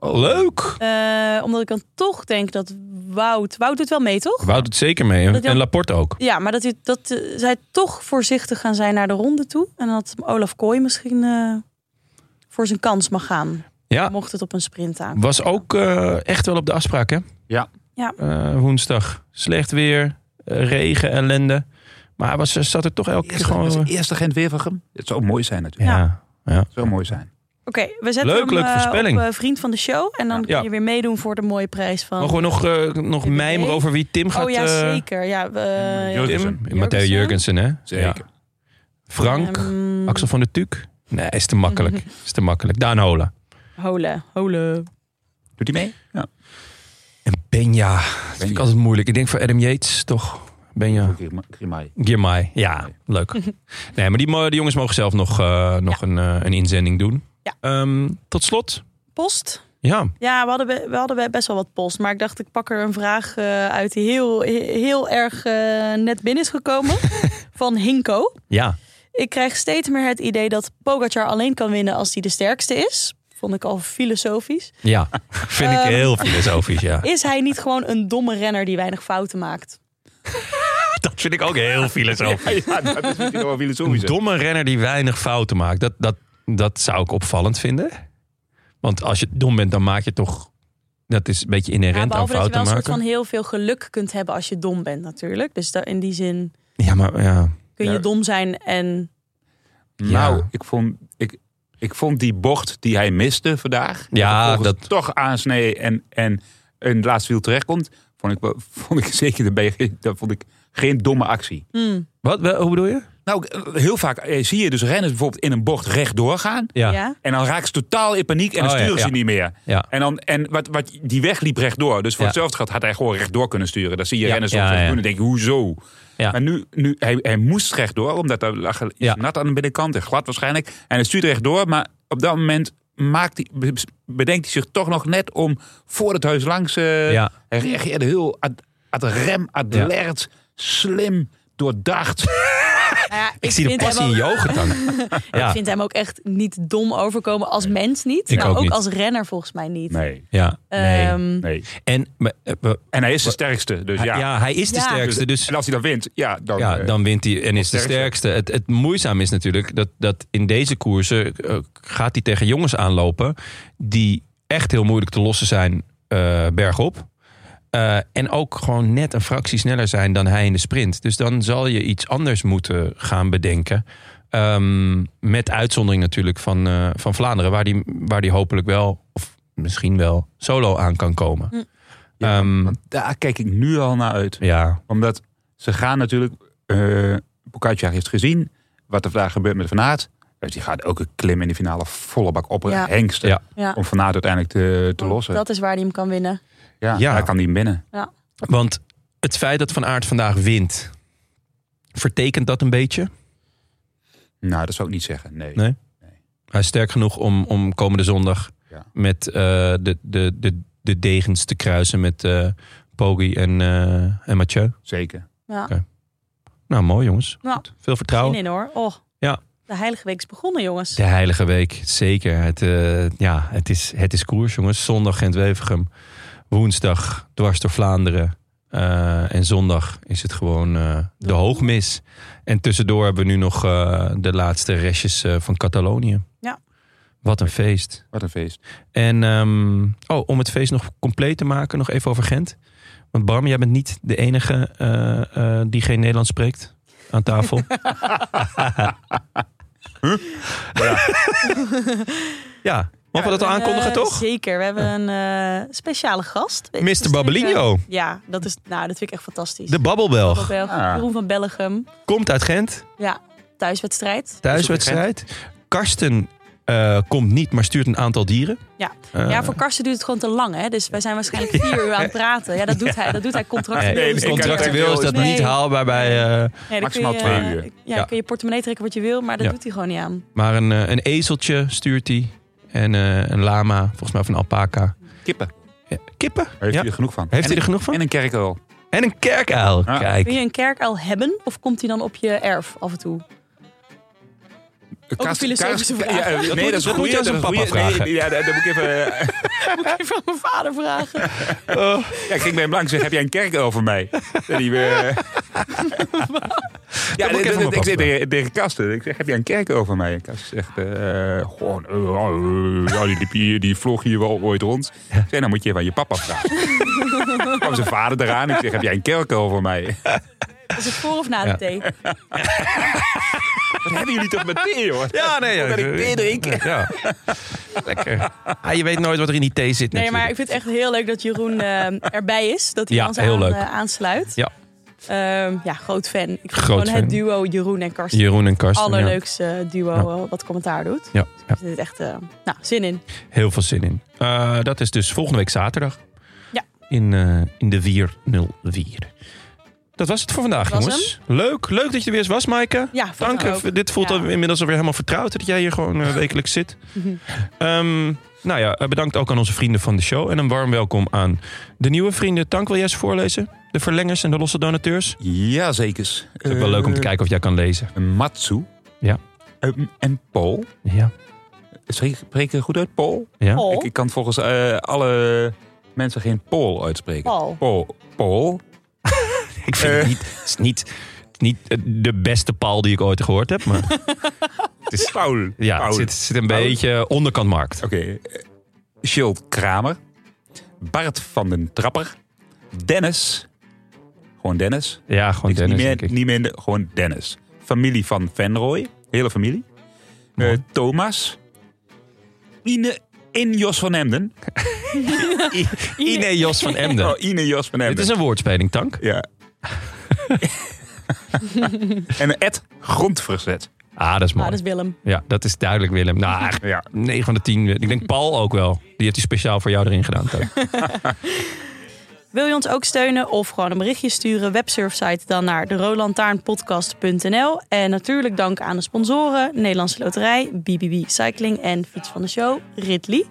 A: Leuk!
C: Eh, omdat ik dan toch denk dat Wout... Wout doet wel mee, toch?
A: Wout het zeker mee. En,
C: Dat hij-
A: en Laporte ook.
C: Ja, maar dat, hij- dat eh, zij toch voorzichtig gaan zijn naar de ronde toe. En dat Olaf Kooi misschien eh, voor zijn kans mag gaan.
A: Ja.
C: Mocht het op een sprint aan.
A: Was ook eh, echt wel op de afspraak, hè?
D: Ja.
C: Ja.
A: Eh, woensdag. Slecht weer, eh, regen, ellende. Maar hij was, eh, zat er toch elke keer
D: Eerste,
A: gewoon...
D: was het
A: eh,
D: eerste Gent Wevergem. Het zou mooi zijn natuurlijk.
A: ja. ja.
D: Het zou mooi zijn.
C: Oké, we zetten
A: Leuk,
C: hem
A: leuk
C: eh,
A: voorspelling.
C: op eh, vriend van de show. En dan
A: Ja.
C: kun je weer meedoen voor de mooie prijs van...
A: Mogen we nog, eh, nog
C: BBB?
A: mijmeren over wie Tim gaat...
C: oh ja,
A: eh,
C: zeker. Ja, we-
D: Jurgensen.
A: Tim? Matthäu Jurgensen, hè? Ja.
D: Zeker.
A: Frank,
C: Ehm,
A: Axel van der Tuuk. Nee, is te makkelijk.
C: Mhm.
A: Is te makkelijk. Daan Hola.
C: Hole, hole.
D: Doet hij mee? Ja.
A: En Benja. Dat vind ik altijd moeilijk. Ik denk voor Adam Yates, toch? Benja.
D: Grima- Grimai.
A: Girmay. Ja, leuk. Nee, maar die, mo- die jongens mogen zelf nog, eh, nog een, eh, een inzending doen.
C: Ja.
A: Ehm, tot slot.
C: Post?
A: Ja,
C: Ja, we hadden, be- we hadden be- best wel wat post. Maar ik dacht, ik pak er een vraag eh, uit die heel, he- heel erg eh, net binnen is gekomen. van Hinko.
A: ja.
C: Ik krijg steeds meer het idee dat Pogacar alleen kan winnen als hij de sterkste is. Vond ik al filosofisch.
A: Ja, vind ik
C: Ehm.
A: heel filosofisch, ja.
C: Is hij niet gewoon een domme renner die weinig fouten maakt?
A: Dat vind ik ook heel filosofisch.
D: Ja, dat is natuurlijk wel
A: Een
D: filosofisch.
A: domme renner die weinig fouten maakt. Dat, dat, dat zou ik opvallend vinden. Want als je dom bent, dan maak je toch... Dat is een beetje
C: Ja,
A: inherent aan
C: behalve dat je wel
A: fouten
C: een soort
A: maken.
C: van heel veel geluk kunt hebben als je dom bent natuurlijk. Dus da- in die zin
A: Ja, maar ja.
C: kun je
D: Ja.
C: dom zijn en...
D: Nou,
A: Ja.
D: ik vond, ik, ik vond die bocht die hij miste vandaag.
A: Ja,
D: vervolgens
A: dat-
D: toch aansnee en, en een laatste wiel terechtkomt. Vond ik, wel- vond ik zeker de BG. Dat vond ik geen domme actie.
A: Mm.
C: Hmm,
A: Wat, wel, hoe bedoel je?
D: Nou, heel vaak eh, zie je dus renners bijvoorbeeld in een bocht rechtdoor gaan.
A: Ja.
C: ja.
D: En dan raakt ze totaal in paniek en
A: Oh,
D: dan
A: ja,
D: sturen ze
A: ja.
D: niet meer.
A: Ja.
D: En, dan, en wat, wat, die weg liep rechtdoor. Dus voor
A: Ja.
D: hetzelfde geld had hij gewoon rechtdoor kunnen sturen. Dat zie je
A: Ja,
D: renners
A: ja,
D: soms wel
A: ja.
D: doen. Dan denk je, hoezo?
A: Ja.
D: Maar nu, nu hij, hij moest rechtdoor, omdat er lag iets
A: Ja.
D: nat aan de binnenkant en glad waarschijnlijk. En hij stuurt rechtdoor, maar op dat moment maakt hij, be- bedenkt hij zich toch nog net om voor het huis langs. eh,
A: Ja.
D: Hij reageerde heel ad, ad rem, alert, slim, doordacht.
C: Nou ja,
A: Ik, zie de
C: vind hem
A: passie in
C: ook-
A: je ogen dan.
C: Ik
A: ja.
C: vind hem ook echt niet dom overkomen als mens niet.
A: Ik
C: maar
A: ook
C: ook,
A: niet.
C: als renner volgens mij niet.
D: Nee,
A: ja. Nee.
C: Ehm,
D: nee.
A: en maar, eh, we-
D: En hij is de sterkste, dus
A: ja.
D: ja.
A: hij is de
C: Ja.
A: sterkste. Dus
D: En als hij dan wint, ja, dan...
A: ja,
D: eh,
A: dan wint hij en is de
D: sterkste.
A: sterkste. Het, het moeizaam is natuurlijk dat, dat in deze koersen eh, gaat hij tegen jongens aanlopen die echt heel moeilijk te lossen zijn eh, bergop. Eh, en ook gewoon net een fractie sneller zijn dan hij in de sprint. Dus dan zal je iets anders moeten gaan bedenken. Ehm, met uitzondering natuurlijk van, eh, van Vlaanderen, waar die, waar die hopelijk wel, of misschien wel, solo aan kan komen.
D: Ja,
A: Ehm,
D: Want daar kijk ik nu al naar uit.
A: ja,
D: Omdat ze gaan natuurlijk... eh Pogacar heeft gezien wat er vandaag gebeurt met Van Aert. Dus die gaat ook een klim in de finale volle bak op eh,
C: Ja.
D: hengsten.
A: Ja.
C: Ja.
D: Om Van Aert uiteindelijk te, te
C: Want
D: lossen.
C: Dat is waar hij hem kan winnen.
D: ja,
A: Ja.
D: Daar kan hij hem binnen.
A: Want het feit dat Van Aert vandaag wint, vertekent dat een beetje?
D: Nou, dat zou ik niet zeggen. Nee.
A: Nee. Hij is sterk genoeg om, om komende zondag
D: Ja.
A: met eh, de, de, de, de degens te kruisen met eh Poggi en, eh, en Mathieu.
D: Zeker.
C: Ja.
A: Oké. Nou, mooi jongens.
C: Nou,
A: Goed. Veel
C: Zin
A: vertrouwen.
C: in hoor. Oh.
A: Ja.
C: De Heilige Week is begonnen, jongens.
A: De heilige week, zeker. Het, eh, ja, het, is, het is koers, jongens. Zondag Gent-Wevergem. Woensdag dwars door Vlaanderen. Eh, en zondag is het gewoon eh, de hoogmis. En tussendoor hebben we nu nog eh, de laatste restjes eh, van Catalonië.
C: Ja.
A: Wat een feest.
D: Wat een feest.
A: En ehm, oh, om het feest nog compleet te maken, nog even over Gent. Want Bram, jij bent niet de enige eh, eh, die geen Nederlands spreekt aan tafel. Huh? ja, mogen we dat al aankondigen,
C: Eh,
A: toch?
C: Zeker. We hebben een eh, speciale gast. Weet je,
A: Mr. Babbelingo.
C: Ja, dat, is, nou, dat vind ik echt fantastisch.
A: De Babbelbelg.
C: Belg,
D: Ah.
C: Jeroen van Bellegem.
A: Komt uit Gent,
C: Ja, thuiswedstrijd.
A: thuiswedstrijd. Karsten eh, komt niet, maar stuurt een aantal dieren.
C: Ja.
A: Eh,
C: ja, voor Karsten duurt het gewoon te lang, hè? Dus wij zijn waarschijnlijk vier uur aan het praten. Ja, dat doet hij. Dat doet hij contractueel.
A: nee,
C: Dus
D: ik-
A: eh, contractueel is dat
C: Nee.
A: niet haalbaar bij... eh,
C: nee, dan kun
D: maximaal
C: je,
D: twee
C: eh,
D: uur.
C: Ja,
A: Ja.
C: dan kun je portemonnee trekken wat je wil, maar dat
A: Ja.
C: doet hij gewoon niet aan.
A: Maar een, eh, een ezeltje stuurt hij. En eh, een lama, volgens mij van alpaca.
D: Kippen.
A: Ja, kippen?
D: Daar heeft
A: Ja.
D: hij er genoeg van.
A: Heeft
D: en,
A: hij er genoeg van?
D: En een kerkel.
A: En een kerkuil.
D: Ja.
A: Kijk.
C: Wil je een kerk al hebben of komt hij dan op je erf af en toe?
D: Kaas-
C: filosofische
D: kaas-
C: vraag.
D: ja, eh,
A: Dat
D: nee,
A: moet-
D: dat is
A: dat
D: een
A: moet je
D: goeie,
A: aan
D: dat is
A: zijn
D: een
A: papa
D: goeie.
A: vragen.
D: Nee, ja, dat dat moet ik even... eh,
C: Moet ik even aan mijn vader vragen.
D: Ja, ik ging bij hem langs en zeg, heb jij een kerkel voor mij? En die, eh, ja,
A: moet ik
D: ik,
A: even aan mijn
D: ik zit
A: papa
D: tegen, tegen Kasten. Ik zeg, heb jij een kerkel over mij? En Kasten zegt, eh, gewoon, eh, eh, ja, die, liep hier, die vlog hier wel ooit rond. Ik zeg, dan moet je even aan je papa vragen. Dan kwam zijn vader eraan. Ik zeg, heb jij een kerkel voor mij?
C: Is het voor of na
A: Ja.
C: de thee?
D: Wat hebben jullie toch met thee, hoor?
A: Ja, nee. Ja,
D: Dat ik thee drinken.
A: Ja. Lekker. Ah, je weet nooit wat er in die thee zit
C: Nee, maar
A: natuurlijk.
C: ik vind het echt heel leuk dat Jeroen eh, erbij is. Dat hij
A: Ja,
C: ons
A: heel
C: aan,
A: leuk.
C: eh, aansluit.
A: Ja.
C: Ehm, ja, groot fan. Ik vind
A: Groot
C: gewoon
A: fan.
C: het duo Jeroen en Karsten.
A: Jeroen en Karsten. ja.
C: Allerleukste duo
A: Ja.
C: eh, wat commentaar doet.
A: Ja, ja.
C: Ik vind het echt eh, nou, zin in.
A: heel veel zin in. Eh, dat is dus volgende week zaterdag.
C: Ja.
A: In, eh, in de 404. Dat was het voor vandaag,
C: was
A: jongens. Leuk, leuk dat je er weer eens was, Maaike.
C: Ja, vond
A: Dank
C: ik
A: je.
C: Ah, ook.
A: Dit voelt
C: Ja. Mhm.
A: al inmiddels alweer helemaal vertrouwd dat jij hier gewoon eh, wekelijks zit. Ehm, nou ja, eh, bedankt ook aan onze vrienden van de show. En een warm welkom aan de nieuwe vrienden. Tank wil jij ze voorlezen? De verlengers en de losse donateurs.
D: Ja, zeker.
A: Het is ook wel leuk
D: Eh.
A: om te kijken of jij kan lezen.
D: Matsu.
A: Ja.
D: Ehm, en Paul.
A: Ja.
D: Spreek spreek ik het goed uit? Paul?
A: ja.
C: Paul.
D: Ik, ik kan volgens eh, alle mensen geen Paul uitspreken.
C: Paul.
D: Paul. Paul.
A: Ik vind het
D: Eh.
A: niet, het is niet, niet eh, de beste paal die ik ooit gehoord heb. Maar
D: Het is Paul.
A: ja, het
D: Paul.
A: zit, zit een
D: Paul.
A: beetje onderkant markt.
D: Oké. eh, Sjild Kramer. Bart van den Trapper. Dennis. Gewoon Dennis.
A: Ja, gewoon
D: Niks-
A: Dennis,
D: niet,
A: denk
D: meer,
A: ik.
D: niet minder, gewoon Dennis. Familie van Venrooy. Hele familie. Eh,
A: Mooi.
D: Thomas. Ine in Jos van Emden.
A: Ine Jos van Emden.
D: Oh, Ine Jos van Emden.
A: Dit is een woordspeling, Tank.
D: Ja. en Ed Grondverzet.
A: Ah, dat is
C: Ah,
A: mooi.
C: dat is Willem.
A: Ja, dat is duidelijk, Willem. Nou, eigenlijk
D: Ja.
A: 9 van de 10. Ik denk Paul ook wel. Die heeft hij speciaal voor jou erin gedaan. Teun.
C: Wil je ons ook steunen of gewoon een berichtje sturen? Websurfsite dan naar deroolantaarnpodcast.nl. En natuurlijk dank aan de sponsoren: Nederlandse Loterij, BBB Cycling en Fiets van de Show, Ridley.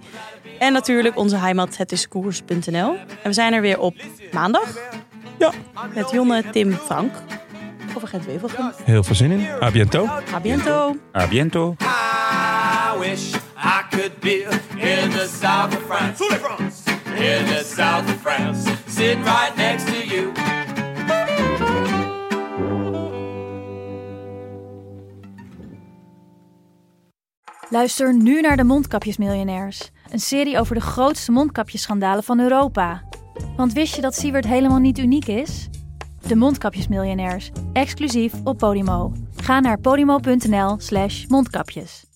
C: En natuurlijk onze heimat, hetiskoers.nl. En we zijn er weer op maandag. Ja. Met Jonne, Tim, Frank. Over Gent Wevelgem.
A: Heel veel zin in. A bientôt.
C: A biento.
D: A biento.
B: I wish I could be in the south of France. In the south of France. Sitting right next to you.
G: Luister nu naar de Mondkapjesmiljonairs, een serie over de grootste mondkapjesschandalen van Europa. Want wist je dat Siewert helemaal niet uniek is? De Mondkapjesmiljonairs, exclusief op Podimo. Ga naar podimo.nl/slash mondkapjes.